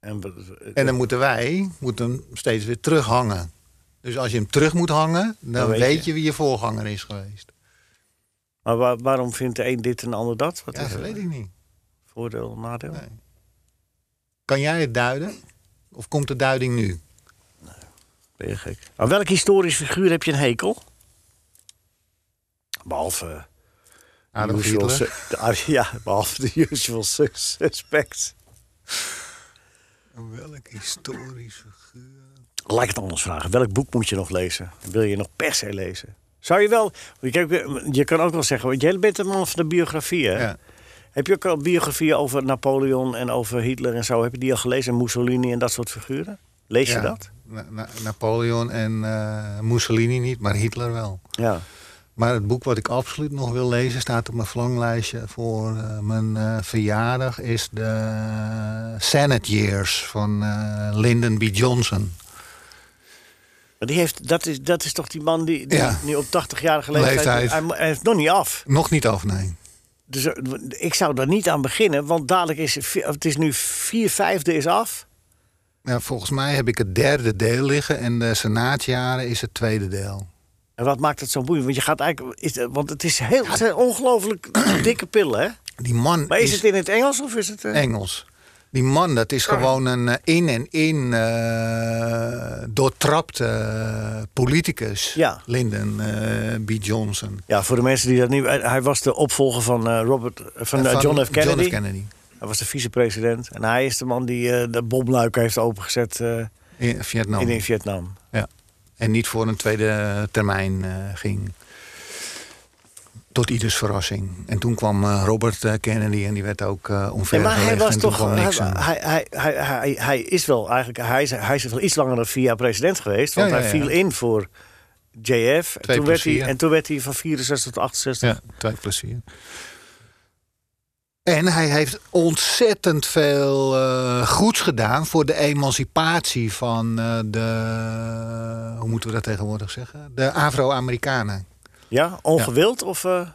Speaker 2: en, we-
Speaker 3: En dan moeten wij moeten hem steeds weer terughangen. Dus als je hem terug moet hangen, dan,
Speaker 2: weet
Speaker 3: weet,
Speaker 2: je.
Speaker 3: je. wie je voorganger is geweest.
Speaker 2: maar wa- waarom vindt de een dit en de ander dat? Wat
Speaker 3: Ja,
Speaker 2: is
Speaker 3: dat
Speaker 2: het
Speaker 3: weet ik niet.
Speaker 2: voordeel, nadeel?
Speaker 3: Nee. Kan jij het duiden? Of komt de duiding nu?
Speaker 2: Ben je gek. Aan welk historisch figuur heb je een hekel? Behalve... eh,
Speaker 3: Adolf
Speaker 2: usual
Speaker 3: Hitler.
Speaker 2: su- de Ar- ja, behalve de usual su- suspects. eh,
Speaker 3: Welk historisch figuur?
Speaker 2: Laat ik het anders vragen. Welk boek moet je nog lezen? Wil je nog per se lezen? Zou je wel... Kijk, je kan ook wel zeggen... Want jij bent een man van de biografie, hè?
Speaker 3: Ja.
Speaker 2: Heb je ook al biografieën over Napoleon en over Hitler en zo? Heb je die al gelezen? En Mussolini en dat soort figuren? Lees je
Speaker 3: Ja.
Speaker 2: dat?
Speaker 3: Na- na- Napoleon en eh, Mussolini niet, maar Hitler wel.
Speaker 2: Ja.
Speaker 3: Maar het boek wat ik absoluut nog wil lezen staat op mijn verlanglijstje voor eh, mijn eh, verjaardag. Is de Senate Years van eh, Lyndon B. Johnson.
Speaker 2: Maar die heeft, dat, is, dat is toch die man die, die
Speaker 3: Ja.
Speaker 2: nu op 80-jarige leeftijd...
Speaker 3: Leeftijd.
Speaker 2: Hij, mo- hij heeft nog niet af.
Speaker 3: Nog niet af, nee.
Speaker 2: Dus eh, ik zou daar niet aan beginnen. Want dadelijk is... vi- Het is nu vier vijfde is af.
Speaker 3: Ja, Nou, volgens mij heb ik het derde deel liggen en de Senaatjaren is het tweede deel.
Speaker 2: En wat maakt het zo boeiend? Want je gaat eigenlijk... Is, eh, want het is heel, het zijn ongelooflijk *clears throat* dikke pillen, hè?
Speaker 3: Die man
Speaker 2: Maar is,
Speaker 3: is
Speaker 2: het in het Engels of is het... eh,
Speaker 3: Engels. Die man, dat is gewoon een eh, in en in eh doortrapte eh, politicus.
Speaker 2: Ja.
Speaker 3: Lyndon eh, B. Johnson.
Speaker 2: Ja, voor de mensen die dat niet... Hij hij was de opvolger van, eh, Robert, van, eh,
Speaker 3: Van
Speaker 2: John F. Kennedy.
Speaker 3: Kennedy.
Speaker 2: Hij was de vicepresident. En hij is de man die eh, de bomluiken heeft opengezet eh,
Speaker 3: In Vietnam.
Speaker 2: in, in Vietnam.
Speaker 3: Ja. En niet voor een tweede eh, termijn eh, ging. Tot ieders verrassing. En toen kwam eh, Robert eh, Kennedy en die werd ook eh
Speaker 2: Nee,
Speaker 3: omvergelegd.
Speaker 2: maar hij was
Speaker 3: en toen
Speaker 2: toch...
Speaker 3: kwam
Speaker 2: Hij,
Speaker 3: Nixon.
Speaker 2: hij, hij, hij, hij- hij is wel eigenlijk... Hij is, hij is wel iets langer dan vier jaar president geweest. Want
Speaker 3: Ja, ja,
Speaker 2: hij
Speaker 3: ja.
Speaker 2: viel in voor JF. En
Speaker 3: Twee
Speaker 2: toen, werd
Speaker 3: plezier.
Speaker 2: hij, en toen werd hij van 64 tot 68.
Speaker 3: Ja, twee plezier. En hij heeft ontzettend veel eh, goeds gedaan voor de emancipatie van eh, de. Hoe moeten we dat tegenwoordig zeggen? De Afro-Amerikanen.
Speaker 2: Ja? Ongewild? Of eh,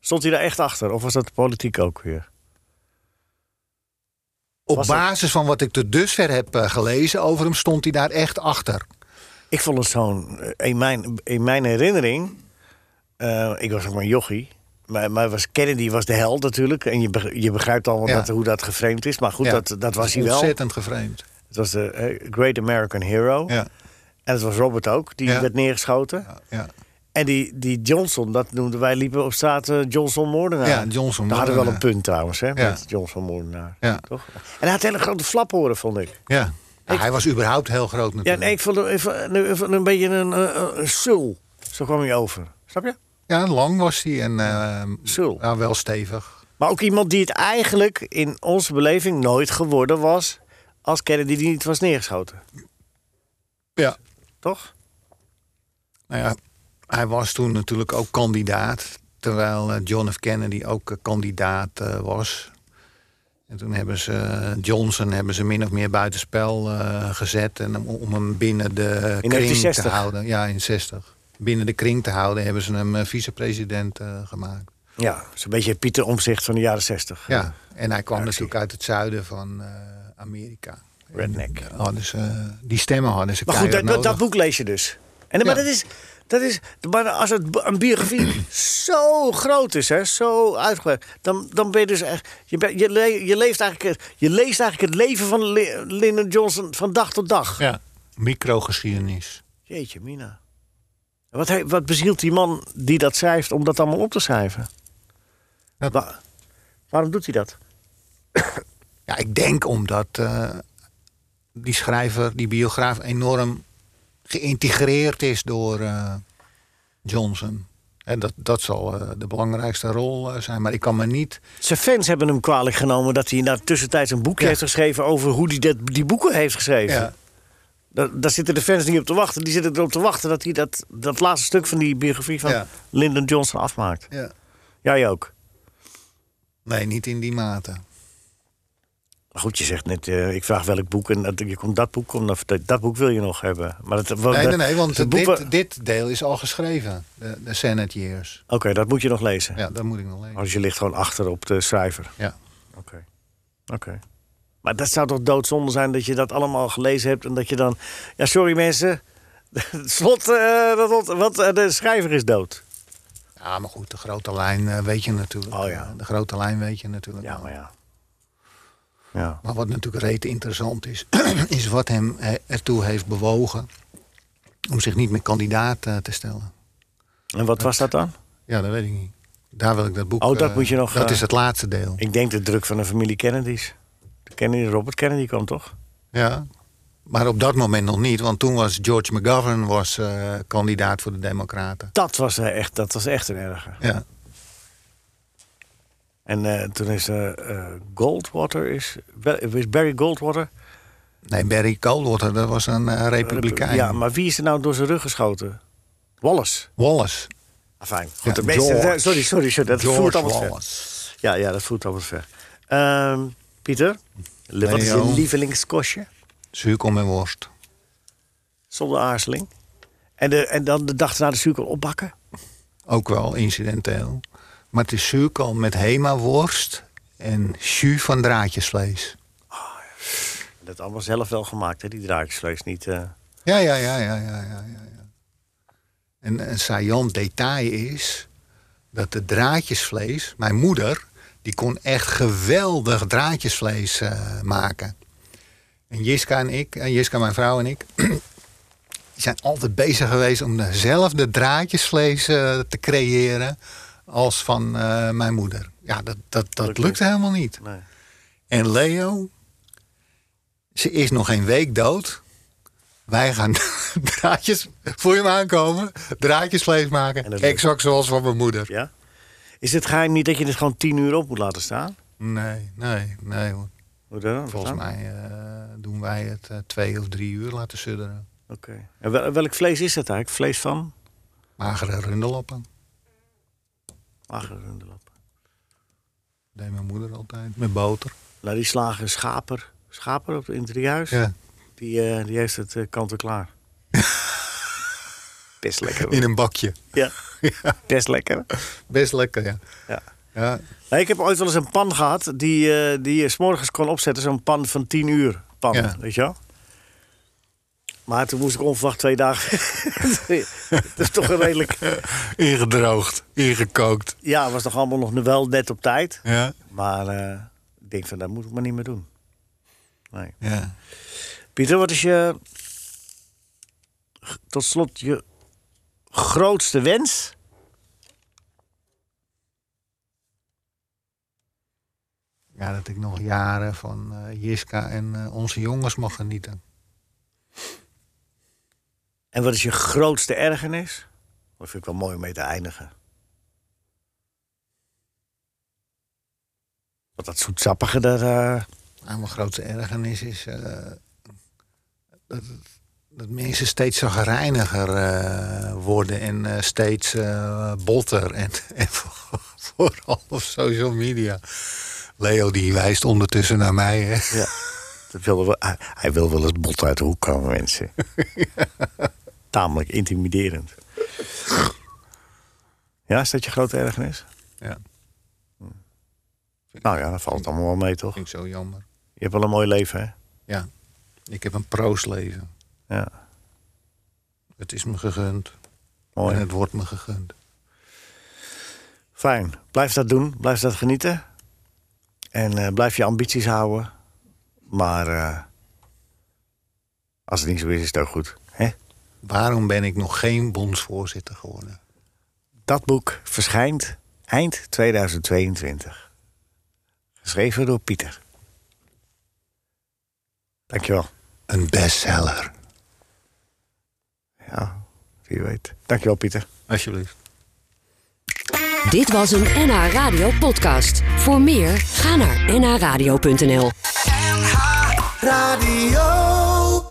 Speaker 2: stond hij daar echt achter? Of was dat politiek ook weer?
Speaker 3: Op
Speaker 2: Was dat-
Speaker 3: basis van wat ik tot dusver heb eh, gelezen over hem, stond hij daar echt achter.
Speaker 2: Ik vond het zo'n... eh, In mijn, in mijn herinnering... eh, ik was ook maar een jochie. Maar, maar was, Kennedy was de held natuurlijk. En je, beg- je begrijpt al
Speaker 3: Ja.
Speaker 2: dat, hoe dat geframed is. Maar goed,
Speaker 3: Ja.
Speaker 2: dat, dat was hij wel. Het
Speaker 3: Ontzettend gevreemd.
Speaker 2: was de eh, Great American Hero.
Speaker 3: Ja,
Speaker 2: En dat was Robert ook. Die
Speaker 3: Ja.
Speaker 2: werd neergeschoten.
Speaker 3: ja.
Speaker 2: En die, die Johnson, dat noemden wij, liepen op straat eh, Johnson Moordenaar.
Speaker 3: Ja, Johnson
Speaker 2: Daar hadden we wel een
Speaker 3: moordenaar.
Speaker 2: punt trouwens, hè,
Speaker 3: Ja.
Speaker 2: met Johnson Moordenaar.
Speaker 3: Ja.
Speaker 2: Toch? En hij had hele grote flaphoren, vond ik.
Speaker 3: ja. Ja, hij was überhaupt heel groot
Speaker 2: Ja,
Speaker 3: natuurlijk.
Speaker 2: nee, ik vond hem ik vond hem een, een beetje een, eh, een sul. Zo kwam hij over. Snap je?
Speaker 3: Ja, lang was hij en eh,
Speaker 2: Zul.
Speaker 3: ja, wel stevig.
Speaker 2: Maar ook iemand die het eigenlijk in onze beleving nooit geworden was... als Kennedy die niet was neergeschoten.
Speaker 3: Ja,
Speaker 2: Toch?
Speaker 3: Nou ja, hij was toen natuurlijk ook kandidaat. Terwijl eh, John F. Kennedy ook eh, kandidaat eh, was. En toen hebben ze eh, Johnson hebben ze min of meer buitenspel eh, gezet. En om, om hem binnen de kring
Speaker 2: 1960.
Speaker 3: te houden. Ja, in 60. Binnen de kring te houden hebben ze hem eh, vicepresident eh, gemaakt.
Speaker 2: Ja, zo'n beetje Pieter Omzicht van de jaren zestig.
Speaker 3: Ja, en hij kwam
Speaker 2: actie.
Speaker 3: natuurlijk uit het zuiden van eh, Amerika.
Speaker 2: Redneck.
Speaker 3: En eh, hadden ze, die stemmen hadden ze
Speaker 2: Maar goed, dat,
Speaker 3: keihard
Speaker 2: dat, dat
Speaker 3: nodig.
Speaker 2: boek lees je dus. En, maar
Speaker 3: Ja.
Speaker 2: dat is, dat is, maar als het, bo- een biografie *clears throat* zo groot is, hè, zo uitgebreid, dan, dan ben je dus echt. Je, ben- je, le- je, leeft eigenlijk, het- je leest eigenlijk het leven van Li- Lyndon Johnson van dag tot dag.
Speaker 3: Ja, microgeschiedenis.
Speaker 2: Jeetje, Mina. Wat, he- wat bezielt die man die dat schrijft om dat allemaal op te schrijven?
Speaker 3: Dat-
Speaker 2: Wa- waarom doet hij dat?
Speaker 3: Ja, ik denk omdat eh, die schrijver, die biograaf, enorm geïntegreerd is door eh, Johnson. En dat, dat zal eh, de belangrijkste rol eh, zijn. Maar ik kan me niet.
Speaker 2: Zijn fans hebben hem kwalijk genomen dat hij na tussentijds een boek
Speaker 3: Ja.
Speaker 2: heeft geschreven over hoe hij dat, die boeken heeft geschreven.
Speaker 3: Ja,
Speaker 2: Daar, daar zitten de fans niet op te wachten. Die zitten erop te wachten dat hij dat, dat laatste stuk van die biografie van
Speaker 3: Ja.
Speaker 2: Lyndon Johnson afmaakt.
Speaker 3: ja.
Speaker 2: Jij ook.
Speaker 3: Nee, niet in die
Speaker 2: Oh,
Speaker 3: mate.
Speaker 2: Maar goed, je zegt net, eh, ik vraag welk boek en dat, je komt dat boek, komt, of dat, dat boek wil je nog hebben. Maar dat, wat-
Speaker 3: Nee, nee,
Speaker 2: dat-
Speaker 3: nee want
Speaker 2: het boek wa-
Speaker 3: dit, dit deel is al geschreven. De, de Senate Years.
Speaker 2: Oké, dat moet je nog lezen.
Speaker 3: Ja, dat moet ik nog lezen.
Speaker 2: Als je ligt gewoon achter op de schrijver.
Speaker 3: Ja.
Speaker 2: Oké. Oké. Maar dat zou toch doodzonde zijn dat je dat allemaal gelezen hebt en dat je dan... Ja, sorry mensen, *laughs* het slot, eh, dat lot- wat, eh, de schrijver is dood.
Speaker 3: Ja, maar goed, de grote lijn eh, weet je natuurlijk.
Speaker 2: Oh ja.
Speaker 3: De grote lijn weet je natuurlijk.
Speaker 2: Ja,
Speaker 3: wel.
Speaker 2: maar ja. Ja.
Speaker 3: Maar wat natuurlijk reet interessant is, *clears throat* is wat hem eh, ertoe heeft bewogen om zich niet meer kandidaat eh, te stellen.
Speaker 2: En wat was dat dan?
Speaker 3: Ja, dat weet ik niet. Daar wil ik dat boek.
Speaker 2: Oh, dat
Speaker 3: eh,
Speaker 2: moet je nog,
Speaker 3: Dat
Speaker 2: eh,
Speaker 3: is het laatste deel.
Speaker 2: Ik denk de druk van de familie Kennedy's. De Kennedy, Robert Kennedy kwam toch?
Speaker 3: Ja. Maar op dat moment nog niet, want toen was George McGovern was, eh, kandidaat voor de Democraten.
Speaker 2: Dat was, eh, echt, dat was echt een erge.
Speaker 3: Ja.
Speaker 2: En eh, toen is eh, eh, Goldwater, is, is Barry Goldwater...
Speaker 3: Nee, Barry Coldwater, dat was een eh, republikein.
Speaker 2: Ja, maar wie is er nou door zijn rug geschoten? Wallace.
Speaker 3: Wallace.
Speaker 2: Fijn. Goed,
Speaker 3: Ja,
Speaker 2: de meeste-
Speaker 3: eh, George.
Speaker 2: eh, sorry, sorry, sorry. Dat
Speaker 3: George
Speaker 2: voert allemaal ver.
Speaker 3: Wallace.
Speaker 2: Ja, ja, dat voert allemaal ver. Ehm, Pieter, li- wat is je
Speaker 3: Leo.
Speaker 2: lievelingskostje?
Speaker 3: Zuurkom en worst.
Speaker 2: Zonder aarzeling. En, de, en dan de dag na de suiker opbakken?
Speaker 3: Ook wel incidenteel. Maar het is zuurkool met hema-worst en jus van draadjesvlees.
Speaker 2: Dat allemaal zelf wel gemaakt, hè? Die draakjesvlees niet. eh.
Speaker 3: Ja, ja, ja, ja, ja, ja. ja, ja. En een saillant detail is dat de draadjesvlees, mijn moeder, die kon echt geweldig draadjesvlees eh, maken. En Jiska en ik, en Jiska mijn vrouw en ik, *clears throat* die zijn altijd bezig geweest om dezelfde draadjesvlees eh, te creëren als van eh, mijn moeder. Ja, dat, dat, dat
Speaker 2: Lukt
Speaker 3: lukte helemaal niet.
Speaker 2: Nee.
Speaker 3: En Leo, ze is nog geen week dood. Wij gaan *laughs* draadjes, voel je hem aankomen, draadjesvlees
Speaker 2: En
Speaker 3: maken.
Speaker 2: dat lukt.
Speaker 3: Exact zoals van mijn moeder.
Speaker 2: Ja? Is het geheim niet dat je het gewoon tien uur op moet laten staan?
Speaker 3: Nee, nee, nee. hoor.
Speaker 2: Hoe dan? Wat
Speaker 3: Volgens
Speaker 2: dan?
Speaker 3: mij eh, doen wij het eh, twee of drie uur laten sudderen.
Speaker 2: Oké. En wel- welk vlees is dat eigenlijk? Vlees van?
Speaker 3: Magere runderlappen,
Speaker 2: Magere runderlap.
Speaker 3: deed mijn moeder altijd, met boter.
Speaker 2: Nou, die slagen schaper. Schaper op, in het driehuis.
Speaker 3: Ja.
Speaker 2: Die, eh, die heeft het eh, kant-en-klaar. *laughs* Best lekker.
Speaker 3: In een bakje.
Speaker 2: *laughs* Ja. Best lekker.
Speaker 3: Best lekker, ja.
Speaker 2: Ja.
Speaker 3: ja.
Speaker 2: Nou, ik heb ooit wel eens een pan gehad die, eh, die je s'morgens kon opzetten. Zo'n pan van 10 uur. Pan,
Speaker 3: Ja.
Speaker 2: weet je wel? Maar toen moest ik onverwacht twee dagen. *laughs* Het is toch een redelijk.
Speaker 3: Ingedroogd, ingekookt.
Speaker 2: Ja, was toch allemaal nog wel net op tijd.
Speaker 3: Ja.
Speaker 2: Maar eh, ik denk van dat moet ik maar niet meer doen. Nee.
Speaker 3: ja.
Speaker 2: Pieter, wat is je. tot slot je grootste wens?
Speaker 3: Ja, dat ik nog jaren van eh, Jiska en eh, onze jongens mag genieten.
Speaker 2: En wat is je grootste ergernis? Dat vind ik wel mooi om mee te eindigen. Want dat zoetsappige, dat... eh,
Speaker 3: Nou, mijn grootste ergernis is eh, dat, dat mensen steeds zagrijniger eh worden en eh, steeds eh, botter. *laughs* En, en voor- vooral op social media. Leo die wijst ondertussen naar mij. Hè.
Speaker 2: dat wilde wel, hij, hij wil wel eens bot uit de hoek komen, mensen. Tamelijk intimiderend. Ja, is dat je grote ergernis?
Speaker 3: Ja.
Speaker 2: Nou ja, dan valt het allemaal wel mee, toch?
Speaker 3: Vind ik zo jammer.
Speaker 2: Je hebt wel een mooi leven, hè?
Speaker 3: Ja, ik heb een proosleven.
Speaker 2: Ja,
Speaker 3: Het is me gegund.
Speaker 2: mooi.
Speaker 3: En het wordt me gegund.
Speaker 2: Fijn. Blijf dat doen. Blijf dat genieten. En eh, blijf je ambities houden. Maar eh, als het niet zo is, is het ook goed. Hè?
Speaker 3: Waarom ben ik nog geen bondsvoorzitter geworden?
Speaker 2: Dat boek verschijnt eind 2022. Geschreven door Pieter. Dankjewel.
Speaker 3: Een bestseller.
Speaker 2: Ja, wie weet. Dankjewel, Pieter.
Speaker 3: Alsjeblieft.
Speaker 1: Dit was een NH Radio podcast. Voor meer, ga naar nhradio.nl.
Speaker 4: Radio.